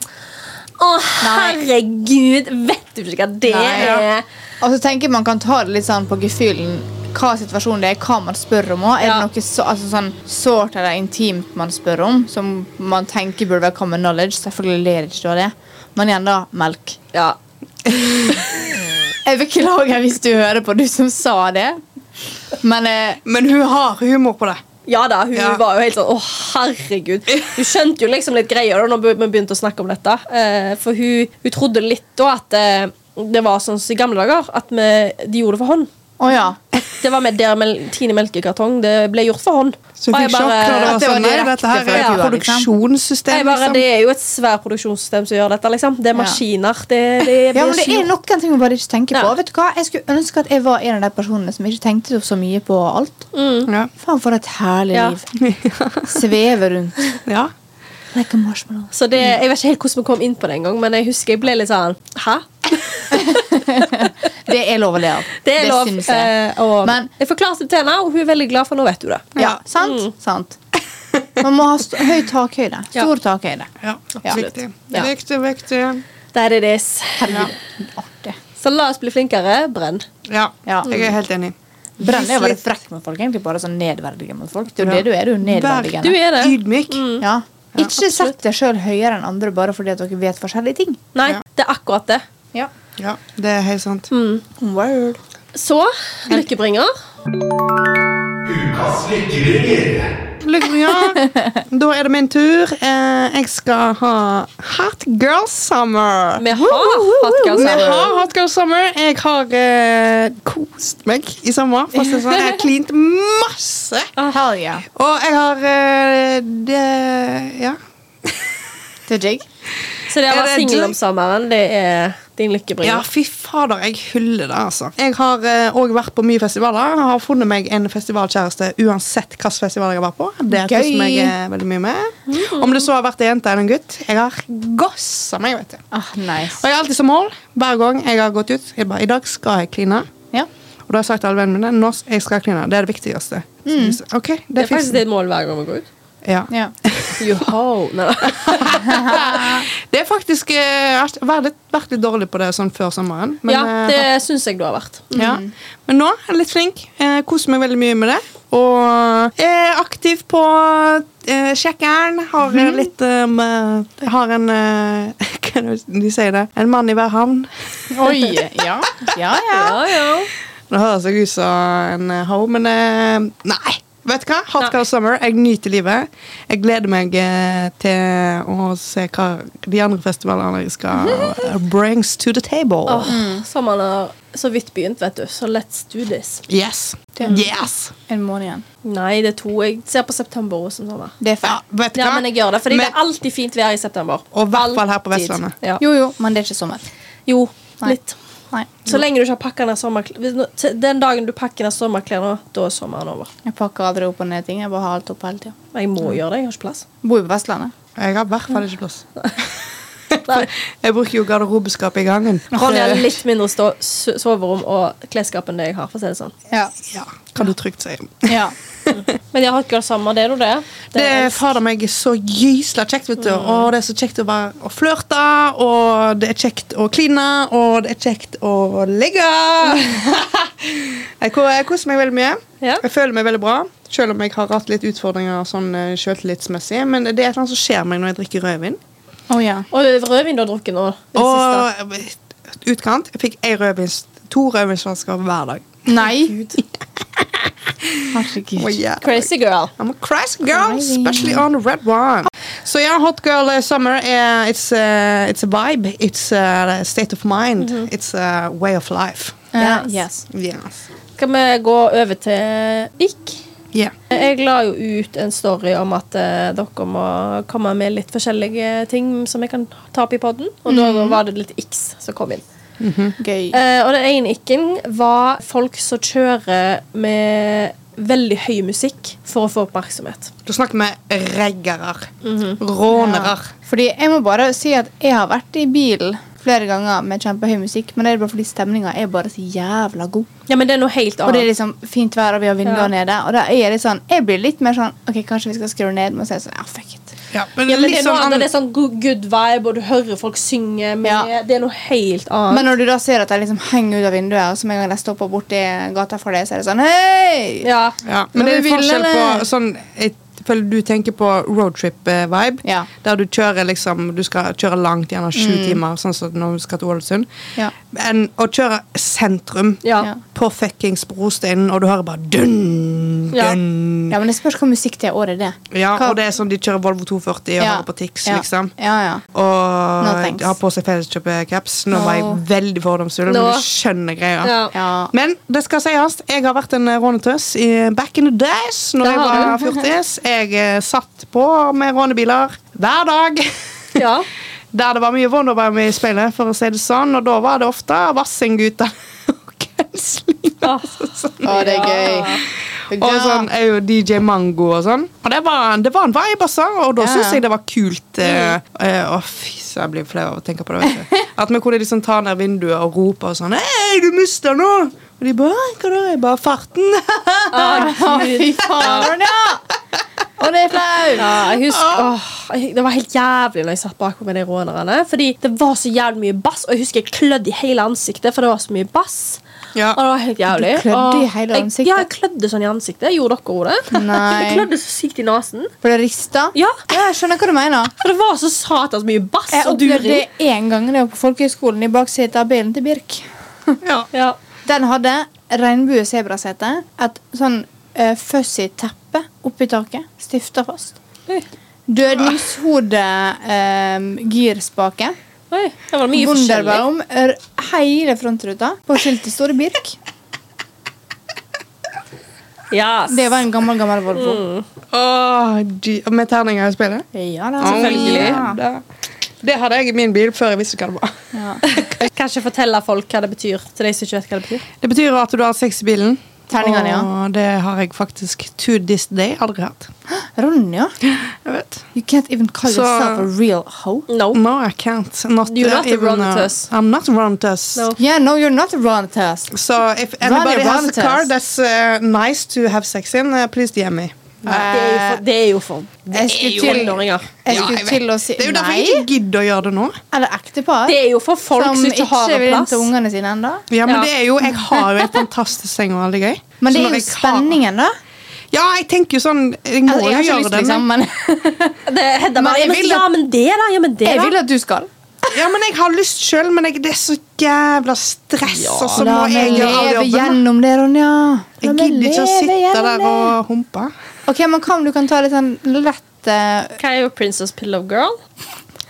Speaker 2: Å,
Speaker 3: Nei.
Speaker 2: herregud! Vet du ikke hva det
Speaker 3: Nei.
Speaker 2: er?
Speaker 3: Og så tenker jeg man kan ta det litt sånn på gefühlen hva situasjonen det er, hva man spør om. også. Er
Speaker 2: Ja.
Speaker 3: det noe så, altså, sånn sårt eller intimt man spør om, som man tenker burde være common knowledge? Selvfølgelig er det ikke da det. Men igjen, da. Melk.
Speaker 2: Ja.
Speaker 3: Jeg beklager hvis du hører på, du som sa det. Men eh,
Speaker 1: Men hun har humor på det.
Speaker 2: ja da, hun
Speaker 1: Ja.
Speaker 2: var jo helt sånn Å, herregud. Hun skjønte jo liksom litt greier da når vi begynte å snakke om dette. Eh, for hun, hun trodde litt da at eh, det var sånn som i gamle dager, at vi, de gjorde det for hånd.
Speaker 3: Å ja.
Speaker 2: Det var med der mel Tine melkekartong. Det ble gjort for hånd.
Speaker 1: Så hun
Speaker 2: Og jeg
Speaker 1: fikk sjokk
Speaker 2: bare-
Speaker 1: når det
Speaker 3: at
Speaker 1: var
Speaker 3: det var
Speaker 1: sånn. Nei,
Speaker 3: direkte
Speaker 1: dette her
Speaker 3: fra
Speaker 1: er et
Speaker 3: kua, liksom.
Speaker 1: produksjonssystem.
Speaker 2: Jeg bare,
Speaker 1: liksom.
Speaker 2: det er jo et svært produksjonssystem som gjør dette. liksom Det er
Speaker 3: Ja.
Speaker 2: maskiner. Det, det,
Speaker 3: Ja,
Speaker 2: blir
Speaker 3: men
Speaker 2: ikke
Speaker 3: det er
Speaker 2: gjort.
Speaker 3: noen ting man bare ikke tenker på.
Speaker 2: Ja.
Speaker 3: Vet du hva? Jeg skulle ønske at jeg var en av de personene som ikke tenkte så mye på alt.
Speaker 1: Ja.
Speaker 3: Faen, for et herlig
Speaker 2: Ja.
Speaker 3: liv. Sveve rundt.
Speaker 1: ja.
Speaker 3: Like a marshmallow.
Speaker 2: Så det, Jeg vet ikke helt hvordan vi kom inn på det, en gang, men jeg husker jeg ble litt sånn Hæ?
Speaker 3: Det er lov å le av.
Speaker 2: Det er lov.
Speaker 3: syns jeg.
Speaker 2: eh, og
Speaker 3: Men-
Speaker 2: jeg forklarte det til henne, og hun er veldig glad, for nå vet hun det.
Speaker 3: Ja, Mm. sant? Sant. Man må ha st høy takhøyde. Stor takhøyde.
Speaker 1: ja.
Speaker 3: Absolutt.
Speaker 1: Viktig.
Speaker 2: Ja.
Speaker 1: Viktig, viktig.
Speaker 2: Der er det.
Speaker 3: Herregud, artig.
Speaker 2: Så la oss bli flinkere. Brenn.
Speaker 1: Ja.
Speaker 3: Ja.
Speaker 1: Jeg er helt enig.
Speaker 3: Brenn
Speaker 1: Vis
Speaker 3: er jo veldig
Speaker 1: litt
Speaker 3: frekk med folk. Egentlig bare sånn nedverdige mot folk. Det er jo
Speaker 1: Ja.
Speaker 3: det du er. Du er jo
Speaker 2: Du
Speaker 3: nedverdigende.
Speaker 2: er det. Mm.
Speaker 1: Ydmyk.
Speaker 3: Ja. Ikke sett deg sjøl høyere enn andre bare fordi at dere vet forskjellige ting.
Speaker 2: Nei,
Speaker 1: Ja.
Speaker 2: det er akkurat det.
Speaker 3: Ja.
Speaker 1: Ja, det er helt sant.
Speaker 2: Mm.
Speaker 3: Word.
Speaker 2: Så lykkebringer.
Speaker 4: Ukas lykkeringer.
Speaker 1: Lykkebringer. Da er det min tur. Eh, Jeg skal ha Hot Girl Summer.
Speaker 2: Vi har hatt
Speaker 1: Vi
Speaker 2: ganske
Speaker 1: har Hot Girl Summer. Jeg har eh, kost meg i sommer. For å si det sånn. Jeg har klint masse.
Speaker 3: Hell yeah.
Speaker 1: Og jeg har eh, det, Ja.
Speaker 3: Det er jig.
Speaker 2: Så det å
Speaker 1: Er
Speaker 2: være
Speaker 1: det
Speaker 2: singel
Speaker 1: du-
Speaker 2: om sommeren, det er din
Speaker 1: ja,
Speaker 2: lykkebringer.
Speaker 1: fy fader, jeg hyller det, altså. Jeg har òg vært på mye festivaler. Jeg har funnet meg en festivalkjæreste uansett hvilken festival jeg har vært på. Det er
Speaker 3: Gøy.
Speaker 1: som jeg er veldig mye med.
Speaker 2: Mm.
Speaker 1: Om det så har vært en jente eller en gutt. Jeg har gossa meg, vet du.
Speaker 3: Ah, nice.
Speaker 1: Og jeg har alltid som mål, hver gang jeg har gått ut, jeg bare, i dag skal jeg kline.
Speaker 3: Ja.
Speaker 1: Og da har jeg sagt til alle vennene mine nå s- jeg skal kline. Det er det viktigste. Så, de sa, ok,
Speaker 2: Mm. Det
Speaker 1: det
Speaker 2: er faktisk
Speaker 1: fikser
Speaker 2: ditt mål hver gang vi går ut.
Speaker 1: ja.
Speaker 3: ja.
Speaker 2: Joho. Nei, nei.
Speaker 1: Det er faktisk eh, Jeg har vært litt, vært litt dårlig på det sånn før sommeren. Men,
Speaker 2: ja,
Speaker 1: eh,
Speaker 2: det syns jeg du har vært.
Speaker 1: ja. men nå er jeg litt flink. Eh, koser meg veldig mye med det. Og er aktiv på eh, sjekkeren. Har eh, litt um, eh, Har en eh, Hva er det de sier det? En mann i hver havn.
Speaker 3: Oi. Ja. Ja, ja.
Speaker 2: Ja, ja.
Speaker 1: Det høres jeg ut som en eh, hoe, men eh, nei. Vet du hva? Hot
Speaker 2: Nei.
Speaker 1: Girl Summer. Jeg nyter livet. Jeg gleder meg eh, til å se hva de andre festivalene jeg skal eh, brings to the table.
Speaker 2: Åh, Sommeren har så vidt begynt, vet du. Så let's do this.
Speaker 1: Yes. Yes!
Speaker 3: En måned igjen.
Speaker 2: Nei, det er to. Jeg ser på september også som sommer.
Speaker 3: Det er
Speaker 1: Ja,
Speaker 3: fair.
Speaker 1: vet du
Speaker 2: Ja,
Speaker 1: hva?
Speaker 2: men jeg gjør det, fordi
Speaker 1: Men-
Speaker 2: det er alltid fint vær i september.
Speaker 1: Og i hvert fall her på
Speaker 2: Alltid.
Speaker 1: Vestlandet.
Speaker 2: Ja.
Speaker 3: Jo, jo, men det er ikke sommer.
Speaker 2: Jo,
Speaker 3: Nei.
Speaker 2: litt.
Speaker 3: Nei.
Speaker 2: Så lenge du ikke har pakka ned sommerklærne Den dagen du pakker ned sommerklærne, da er sommeren over.
Speaker 3: Jeg pakker aldri opp og ned ting. Jeg bare har alt opp hele tida.
Speaker 2: Jeg må gjøre det, jeg har ikke plass.
Speaker 3: Bor jo på Vestlandet.
Speaker 1: Jeg har i hvert fall ikke plass.
Speaker 2: Nei.
Speaker 1: Jeg bruker jo garderobeskapet i gangen.
Speaker 2: Ronja har litt mindre stå, so- soverom og klesskap enn det jeg har. for å si det sånn
Speaker 3: Ja.
Speaker 1: Ja, kan du trygt si.
Speaker 3: ja.
Speaker 2: Men jeg har hatt girl summer, det er jo det.
Speaker 1: Det er fader meg så gysla kjekt, vet du.
Speaker 2: Mm.
Speaker 1: Og det er så kjekt å, bare, å flørte, og det er kjekt å kline, og det er kjekt å ligge. jeg ko- jeg koser meg veldig mye.
Speaker 2: Ja.
Speaker 1: Jeg føler meg veldig bra. Selv om jeg har hatt litt utfordringer sånn eh, selvtillitsmessig. Men det er et eller annet som skjer meg når jeg drikker rødvin.
Speaker 3: Å ja.
Speaker 2: Og det er rødvin du har drukket nå. i Det siste.
Speaker 1: Og eh, utkant. Jeg fikk en rødvins, to rødvinsflasker hver dag.
Speaker 3: Nei. Herregud.
Speaker 1: Å, jævlig.
Speaker 2: Crazy girl.
Speaker 1: I'm a crazy girl, especially on the red one. So yeah, hot girl uh, summer. Uh, it's uh, it's a vibe. It's eh, a state of mind. It's a way of life.
Speaker 3: Eh,
Speaker 2: Yes.
Speaker 3: yes.
Speaker 1: Yes.
Speaker 2: Skal vi gå over til ikk?
Speaker 1: Yeah.
Speaker 2: Jeg la jo ut en story om at eh, dere må komme med litt forskjellige ting som jeg kan ta opp i podden. Og da
Speaker 1: Mm.
Speaker 2: var det litt x som kom inn.
Speaker 3: Gøy.
Speaker 2: Eh, og den ene ikken var folk som kjører med veldig høy musikk for å få oppmerksomhet.
Speaker 1: Da snakker vi reggere. Mm-hmm. Rånere.
Speaker 3: Fordi jeg må bare si at jeg har vært i bilen flere ganger med kjempehøy musikk, men det er bare fordi stemninga er bare så jævla god.
Speaker 2: Ja, men det er noe helt
Speaker 3: Og det er
Speaker 2: annet.
Speaker 3: liksom fint vær, og vi har vinduer
Speaker 2: Ja.
Speaker 3: nede. Og da er jeg litt sånn, jeg blir litt mer sånn Ok, kanskje vi skal skru ned, men så er jeg sånn Ja, fuck it.
Speaker 1: Ja, men,
Speaker 2: Ja, men det,
Speaker 1: litt
Speaker 2: er noe
Speaker 1: sånn
Speaker 2: annet,
Speaker 1: an-
Speaker 2: det er sånn good good vibe, og du hører folk synge med.
Speaker 3: Ja.
Speaker 2: Det er noe helt annet.
Speaker 3: Men når du da ser at de liksom henger ut av vinduet, og så med en gang de stopper borti gata for deg, så er det sånn Hei!
Speaker 2: ja.
Speaker 1: ja, men det er
Speaker 3: Men vi vil,
Speaker 1: forskjell
Speaker 3: eller?
Speaker 1: på sånn Jeg føler du tenker på roadtrip-vibe.
Speaker 3: Ja.
Speaker 1: Der du kjører liksom Du skal kjøre langt, gjerne sju timer, sånn som når du skal til Ålesund.
Speaker 3: Ja.
Speaker 1: Enn å kjøre sentrum
Speaker 2: Ja.
Speaker 3: Ja.
Speaker 1: på fuckings brosteinen, og du hører bare dun,
Speaker 2: Ja.
Speaker 1: dun.
Speaker 3: Ja, men det spørs hva musikk det er året det.
Speaker 1: Ja,
Speaker 3: Hva-
Speaker 1: og det er sånn de kjører Volvo 240 og
Speaker 3: Ja.
Speaker 1: hører på Tix,
Speaker 3: Ja.
Speaker 1: liksom.
Speaker 3: Ja, ja.
Speaker 1: Og
Speaker 3: No thanks.
Speaker 1: har på seg felleskjøpecaps. Nå var jeg
Speaker 3: No.
Speaker 1: veldig fordomsfull, men
Speaker 2: No.
Speaker 1: du skjønner greia.
Speaker 2: Ja.
Speaker 3: Ja.
Speaker 1: Men det skal sies, jeg har vært en eh, rånetøs i back in the days når
Speaker 2: Det
Speaker 1: jeg var
Speaker 2: har
Speaker 1: fjortis. Jeg eh, satt på med rånebiler hver dag.
Speaker 2: Ja.
Speaker 1: Der det var mye Wonderbaum i speilet, for å si det sånn. Og da var det ofte Vassendguta og Gunslinger.
Speaker 2: Ah.
Speaker 1: Sånn.
Speaker 3: Å, det
Speaker 2: Ja.
Speaker 3: er gøy. Det er
Speaker 1: Og
Speaker 3: gøy.
Speaker 1: sånn er jo DJ Mango og sånn. Og det var, det var en vibe, altså. Og da
Speaker 3: Ja.
Speaker 1: synes jeg det var kult. eh, eh, Å, fy så jeg blir flau av å tenke på det. Vet du. At vi kunne liksom ta ned vinduet og rope og sånn Hei, du mister nå! Og de bare «Hæ, Hva da? Jeg bare Farten!
Speaker 3: Å,
Speaker 2: sånn
Speaker 3: Fy faen, ja! Og det er flaut!
Speaker 2: Ja, jeg husker, åh,
Speaker 3: Ah.
Speaker 2: jeg, det var helt jævlig når jeg satt bakpå med de rånerne. Fordi det var så jævlig mye bass, og jeg husker jeg klødde i hele ansiktet. For det var så mye bass
Speaker 1: Ja.
Speaker 2: Og det var helt jævlig
Speaker 3: Du klødde i
Speaker 2: Og
Speaker 3: hele
Speaker 2: jeg-
Speaker 3: ansiktet?
Speaker 2: Ja, jeg klødde sånn i ansiktet. Gjorde dere også det?
Speaker 3: Nei.
Speaker 2: Jeg klødde så sykt i nesen.
Speaker 3: For det rister?
Speaker 2: Ja,
Speaker 3: Ja, jeg skjønner hva du mener.
Speaker 2: For det var så satans mye bass
Speaker 3: Jeg
Speaker 2: Eh, og
Speaker 3: opplevde
Speaker 2: during.
Speaker 3: det én gang da jeg var på folkehøyskolen i baksetet av bilen til Birk.
Speaker 1: Ja.
Speaker 2: Ja.
Speaker 3: Den hadde regnbue sebrasete, et sånn eh, fuzzy teppe oppi taket, stifta fast.
Speaker 2: Oi.
Speaker 3: Dødningshode, um, girspake,
Speaker 2: Oi, det var mye forskjellig.
Speaker 3: Wunderbaum, r- hele frontruta. På skiltet står det Birk.
Speaker 2: Yes.
Speaker 3: Det var en gammel, gammel Volvo.
Speaker 1: Åh, de, med terninger i spillet?
Speaker 3: Ja da.
Speaker 2: Mm. Selvfølgelig.
Speaker 1: Åh, da. Det hadde jeg i min bil før jeg visste hva det var.
Speaker 3: Ja.
Speaker 2: Kanskje fortelle folk hva det betyr. Til de som ikke vet hva det betyr
Speaker 1: Det betyr at du har sex i bilen.
Speaker 3: Terningene, ja.
Speaker 1: Og det har jeg faktisk to this day aldri hatt.
Speaker 3: Ronja,
Speaker 1: Jeg vet.
Speaker 3: you can't even call
Speaker 1: Så-
Speaker 3: yourself a real hoe.
Speaker 2: No.
Speaker 1: No, I can't. Oh. Not
Speaker 2: You're not a
Speaker 1: even, uh,
Speaker 2: Ronatøs.
Speaker 1: I'm not a Ronatøs.
Speaker 2: No.
Speaker 3: Yeah, no, you're not a Ronatest.
Speaker 1: So if anybody has a
Speaker 3: Ronatøs.
Speaker 1: car that's uh, nice to have sex in, uh, please DM me.
Speaker 2: Det er jo for, det er jo for
Speaker 3: Jeg skulle til,
Speaker 2: tenåringer.
Speaker 3: jeg skulle til å si
Speaker 1: Det er jo derfor
Speaker 3: nei.
Speaker 1: jeg ikke gidder å gjøre det nå.
Speaker 3: Eller ektepar.
Speaker 2: Det er jo for folk som,
Speaker 3: som
Speaker 2: ikke har en
Speaker 3: vil inn
Speaker 2: plass.
Speaker 3: til ungene sine ennå.
Speaker 1: Ja, men
Speaker 2: Ja.
Speaker 1: det er jo, Jeg har jo en fantastisk seng og veldig gøy.
Speaker 3: Men
Speaker 1: Så
Speaker 3: det
Speaker 1: når
Speaker 3: er jo
Speaker 1: jeg har-
Speaker 3: spenningen, da.
Speaker 1: Ja, jeg tenker jo sånn Jeg må
Speaker 3: Altså, jeg har
Speaker 1: jo
Speaker 3: ikke
Speaker 1: gjøre
Speaker 3: lyst,
Speaker 1: det. men-
Speaker 3: liksom, men
Speaker 2: Det Hedda
Speaker 3: Men
Speaker 2: bare,
Speaker 3: jeg
Speaker 2: ja, men,
Speaker 3: vil at-
Speaker 2: ja, men det, da. Ja, men det,
Speaker 3: jeg
Speaker 2: da.
Speaker 3: vil at du skal.
Speaker 1: Ja, men jeg har lyst sjøl, men jeg, det er så jævla stress, og så må
Speaker 3: La
Speaker 1: jeg
Speaker 3: meg
Speaker 1: gjøre all
Speaker 3: leve
Speaker 1: jobben.
Speaker 3: gjennom det, Ronja. La
Speaker 1: Jeg
Speaker 3: meg
Speaker 1: gidder ikke å
Speaker 3: leve
Speaker 1: sitte
Speaker 3: gjennom
Speaker 1: der og humpe.
Speaker 3: det. Ok, men Hva om du kan ta litt sånn lett eh,
Speaker 2: Hva er jo Princess Pillow Girl?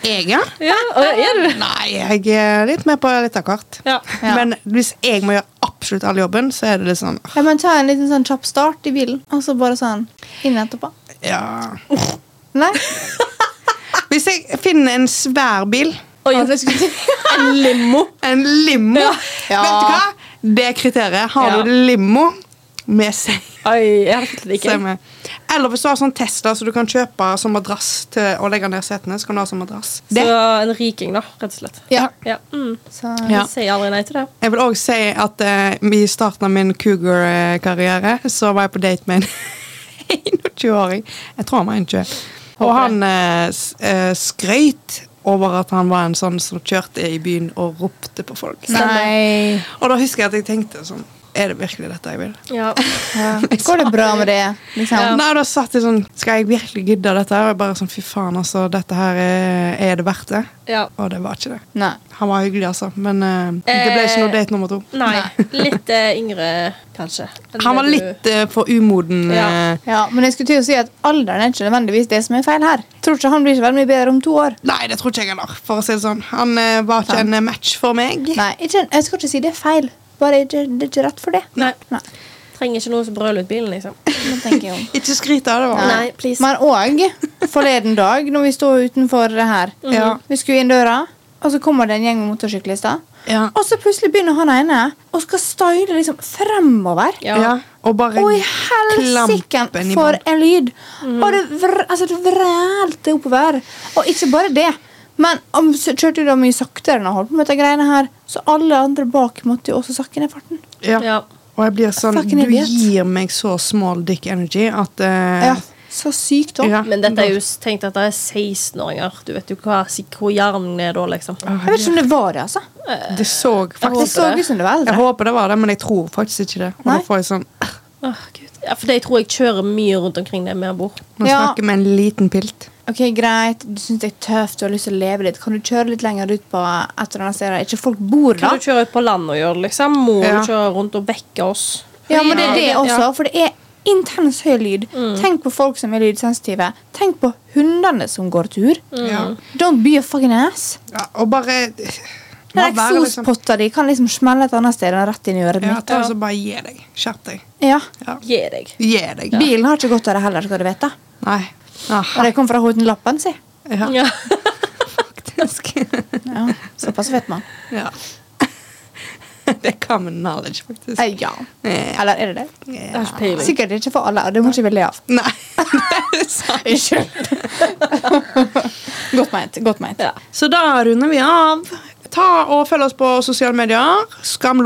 Speaker 1: Jeg, ja?
Speaker 2: Ja, er du?
Speaker 1: Nei, jeg er litt med på litt av hvert.
Speaker 2: Ja.
Speaker 3: Ja.
Speaker 1: Men hvis jeg må gjøre absolutt all jobben, så er det litt sånn
Speaker 3: ja, men Ta en liten sånn kjapp start i bilen, og så bare sånn inn etterpå.
Speaker 1: Ja.
Speaker 3: Nei?
Speaker 1: Hvis jeg finner en svær bil,
Speaker 2: Oi,
Speaker 3: Ja, det skulle Altså, jeg si.
Speaker 2: en limo.
Speaker 1: en limo
Speaker 3: Ja.
Speaker 1: Vet du hva? Det er kriteriet. Har
Speaker 2: Ja.
Speaker 1: du limo med seg?
Speaker 2: Oi, jeg hadde fått det
Speaker 1: så er
Speaker 2: ikke.
Speaker 1: vi- Eller hvis du har sånn Tesla så du kan kjøpe som madrass til å legge ned setene. Så kan du ha som madrass.
Speaker 2: Så
Speaker 1: Det.
Speaker 2: en riking, da, rett og slett.
Speaker 3: Ja.
Speaker 2: Ja. Mm.
Speaker 3: Så,
Speaker 1: Ja.
Speaker 2: Jeg sier aldri nei til det.
Speaker 1: Jeg vil òg si at eh, i starten av min cougar-karriere så var jeg på date med en 21-åring. Jeg tror han var 21. Og han eh, s- eh, skrøyt over at han var en sånn som kjørte i byen og ropte på folk.
Speaker 3: Nei.
Speaker 1: Og da husker jeg at jeg tenkte sånn Er det virkelig dette jeg vil?
Speaker 2: Ja.
Speaker 3: Ja. Går det bra med det? Liksom?
Speaker 1: Nei, da satt jeg sånn Skal jeg virkelig gidde dette? her? Og jeg bare sånn, fy faen, altså, dette her er, er det verdt det?
Speaker 2: ja.
Speaker 1: Og det var ikke det.
Speaker 3: Nei.
Speaker 1: Han var hyggelig, altså, men eh, det ble ikke noe date nummer to.
Speaker 2: Nei. Litt eh, yngre, kanskje. enn
Speaker 1: Han
Speaker 2: det
Speaker 1: var
Speaker 2: du-
Speaker 1: litt eh, for umoden.
Speaker 2: Ja.
Speaker 1: eh,
Speaker 3: Ja, men jeg skulle til å si at alderen er ikke nødvendigvis det som er feil her. Tror ikke han blir så veldig mye bedre om to år.
Speaker 1: Nei, det tror ikke jeg heller. For å si det sånn. Han eh, var ikke en eh, match for meg.
Speaker 3: Nei, ikke, jeg skal ikke si det er feil. Bare ikke, det er ikke rett for det.
Speaker 2: Nei.
Speaker 3: Nei.
Speaker 2: Trenger ikke noen som brøler ut bilen, liksom.
Speaker 3: Nå tenker jeg om.
Speaker 1: Ikke skryt av det. Var.
Speaker 2: Nei, please.
Speaker 3: Men òg forleden dag, når vi står utenfor her.
Speaker 1: Mm. Ja.
Speaker 3: Vi skulle inn døra, og så kommer det en gjeng med motorsyklister.
Speaker 1: Ja.
Speaker 3: Og så plutselig begynner han ene og skal style liksom fremover.
Speaker 1: Ja. Og bare
Speaker 3: Og i helsiken
Speaker 1: klampen i
Speaker 3: for
Speaker 1: bånd.
Speaker 3: en lyd! Og det, vr, altså, det vrælte oppover. Og ikke bare det, men han s- kjørte jo da mye saktere når han holdt på med dette greiene her, så alle andre bak måtte jo også sakke ned farten.
Speaker 1: Ja.
Speaker 2: Ja.
Speaker 1: Og jeg blir sånn Du
Speaker 3: Fucking idiot.
Speaker 1: gir meg så small dick energy at eh,
Speaker 3: Ja. Så sykt òg.
Speaker 1: Ja.
Speaker 2: Men dette er jo tenkt at det er 16-åringer. Du vet jo hva, hvor hjernen er da, liksom.
Speaker 3: Jeg vet ikke om det var det, altså.
Speaker 1: Det så
Speaker 3: Det
Speaker 1: faktisk
Speaker 3: så ut som det
Speaker 1: Eh,
Speaker 3: var
Speaker 1: Jeg
Speaker 3: eldre.
Speaker 1: håper det var det, men jeg tror faktisk ikke det. Og da
Speaker 3: Nei.
Speaker 1: får jeg sånn
Speaker 2: Åh, Gud. Ja, for de tror jeg kjører mye rundt omkring der vi bor.
Speaker 1: Nå
Speaker 3: Ja.
Speaker 1: snakker vi en liten pilt.
Speaker 3: Ok, Greit, du syns det er tøft, du har lyst til å leve litt. Kan du kjøre litt lenger ut på et eller annet sted der ikke folk bor, da?
Speaker 2: Kan du kjøre ut på land og gjøre det, liksom? Må
Speaker 1: Ja.
Speaker 2: du kjøre rundt og vekke oss?
Speaker 3: Ja, men det er det
Speaker 2: Ja.
Speaker 3: også, for det er intens høy lyd.
Speaker 1: Mm.
Speaker 3: Tenk på folk som er lydsensitive. Tenk på hundene som går tur.
Speaker 1: Ja.
Speaker 3: Don't be a fucking ass.
Speaker 1: Ja, og bare
Speaker 3: Den
Speaker 1: bare være liksom-
Speaker 3: eksospotta di kan liksom smelle et annet sted enn rett inn i øret
Speaker 1: Ja,
Speaker 3: mitt.
Speaker 1: ta og så bare gi deg. Skjerp deg.
Speaker 3: Ja.
Speaker 2: Gi deg.
Speaker 1: Gi deg.
Speaker 3: Bilen har ikke godt av det heller, skal du vite.
Speaker 1: Nei.
Speaker 3: Og
Speaker 1: Ah,
Speaker 3: det kom fra Hotenlappen, si.
Speaker 1: ja,
Speaker 2: Ja.
Speaker 1: faktisk.
Speaker 3: Ja, såpass vet man.
Speaker 1: ja. Det er common knowledge, faktisk.
Speaker 3: Eh, ja.
Speaker 1: Eh,
Speaker 3: Eller er det det?
Speaker 2: Jeg har ikke peiling.
Speaker 3: Sikkert ikke for alle, og det må ikke vi le av.
Speaker 1: Nei, det er sant.
Speaker 3: Unnskyld. godt meint. Godt meint.
Speaker 2: Ja.
Speaker 1: Så da runder vi av. Ta og Følg oss på sosiale medier.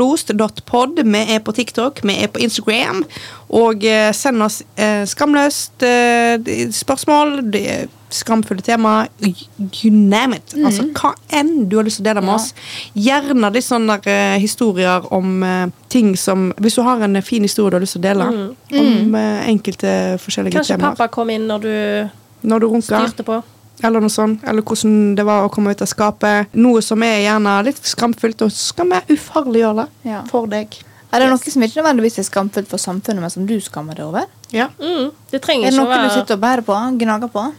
Speaker 1: Skamlost.pod. Vi er på TikTok, vi er på Instagram. Og eh, send oss eh, skamløst eh, de- spørsmål, de- skamfulle tema, y- you name it. Altså
Speaker 2: Mm.
Speaker 1: hva enn du har lyst til å dele med
Speaker 3: Ja.
Speaker 1: oss. Gjerne litt sånne der, eh, historier om eh, ting som Hvis du har en eh, fin historie du har lyst til å dele, om eh, enkelte forskjellige
Speaker 2: Mm. Kanskje
Speaker 1: temaer.
Speaker 2: pappa kom inn når du
Speaker 1: Når du runker.
Speaker 2: styrte på.
Speaker 1: Eller noe sånt, eller hvordan det var å komme ut av skapet. Noe som er gjerne litt skamfullt, og så skal vi ufarliggjøre det
Speaker 3: Ja.
Speaker 1: for deg.
Speaker 3: Er det noe som ikke nødvendigvis er skamfullt for samfunnet, men som du skammer deg over?
Speaker 1: Ja.
Speaker 2: Mm, det trenger
Speaker 3: Er det
Speaker 2: ikke å
Speaker 3: noe du
Speaker 2: være
Speaker 3: sitter og bærer på? Gnager på?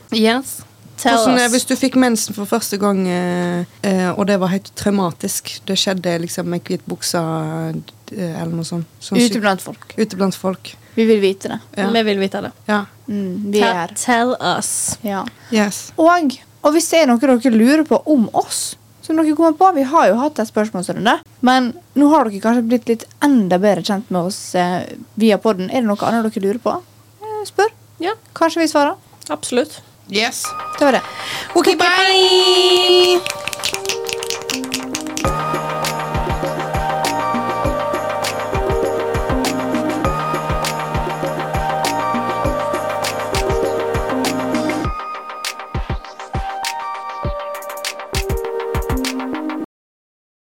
Speaker 2: Tell
Speaker 1: Hvordan, eh,
Speaker 2: us.
Speaker 1: hvis du fikk mensen for første gang, eh, eh, og det var helt traumatisk Det skjedde liksom med hvit bukse eh, eller noe sånt. Sånn
Speaker 3: Ute
Speaker 1: sykt-
Speaker 3: blant folk.
Speaker 1: Ute blant folk.
Speaker 3: Vi vil vite det.
Speaker 1: Ja.
Speaker 2: Vi vil vite det.
Speaker 1: Ja.
Speaker 3: Mm, vi er
Speaker 2: Tell-
Speaker 3: her.
Speaker 2: Tell us.
Speaker 3: Ja.
Speaker 1: Yes.
Speaker 3: Og, og hvis det er noe dere lurer på om oss, som dere kommer på Vi har jo hatt en spørsmålsrunde, men nå har dere kanskje blitt litt enda bedre kjent med oss eh, via podden. Er det noe annet dere lurer på? Eh, spør.
Speaker 2: Ja,
Speaker 3: Kanskje vi svarer.
Speaker 2: absolutt.
Speaker 1: yes.
Speaker 3: Det var det.
Speaker 1: OK, bye!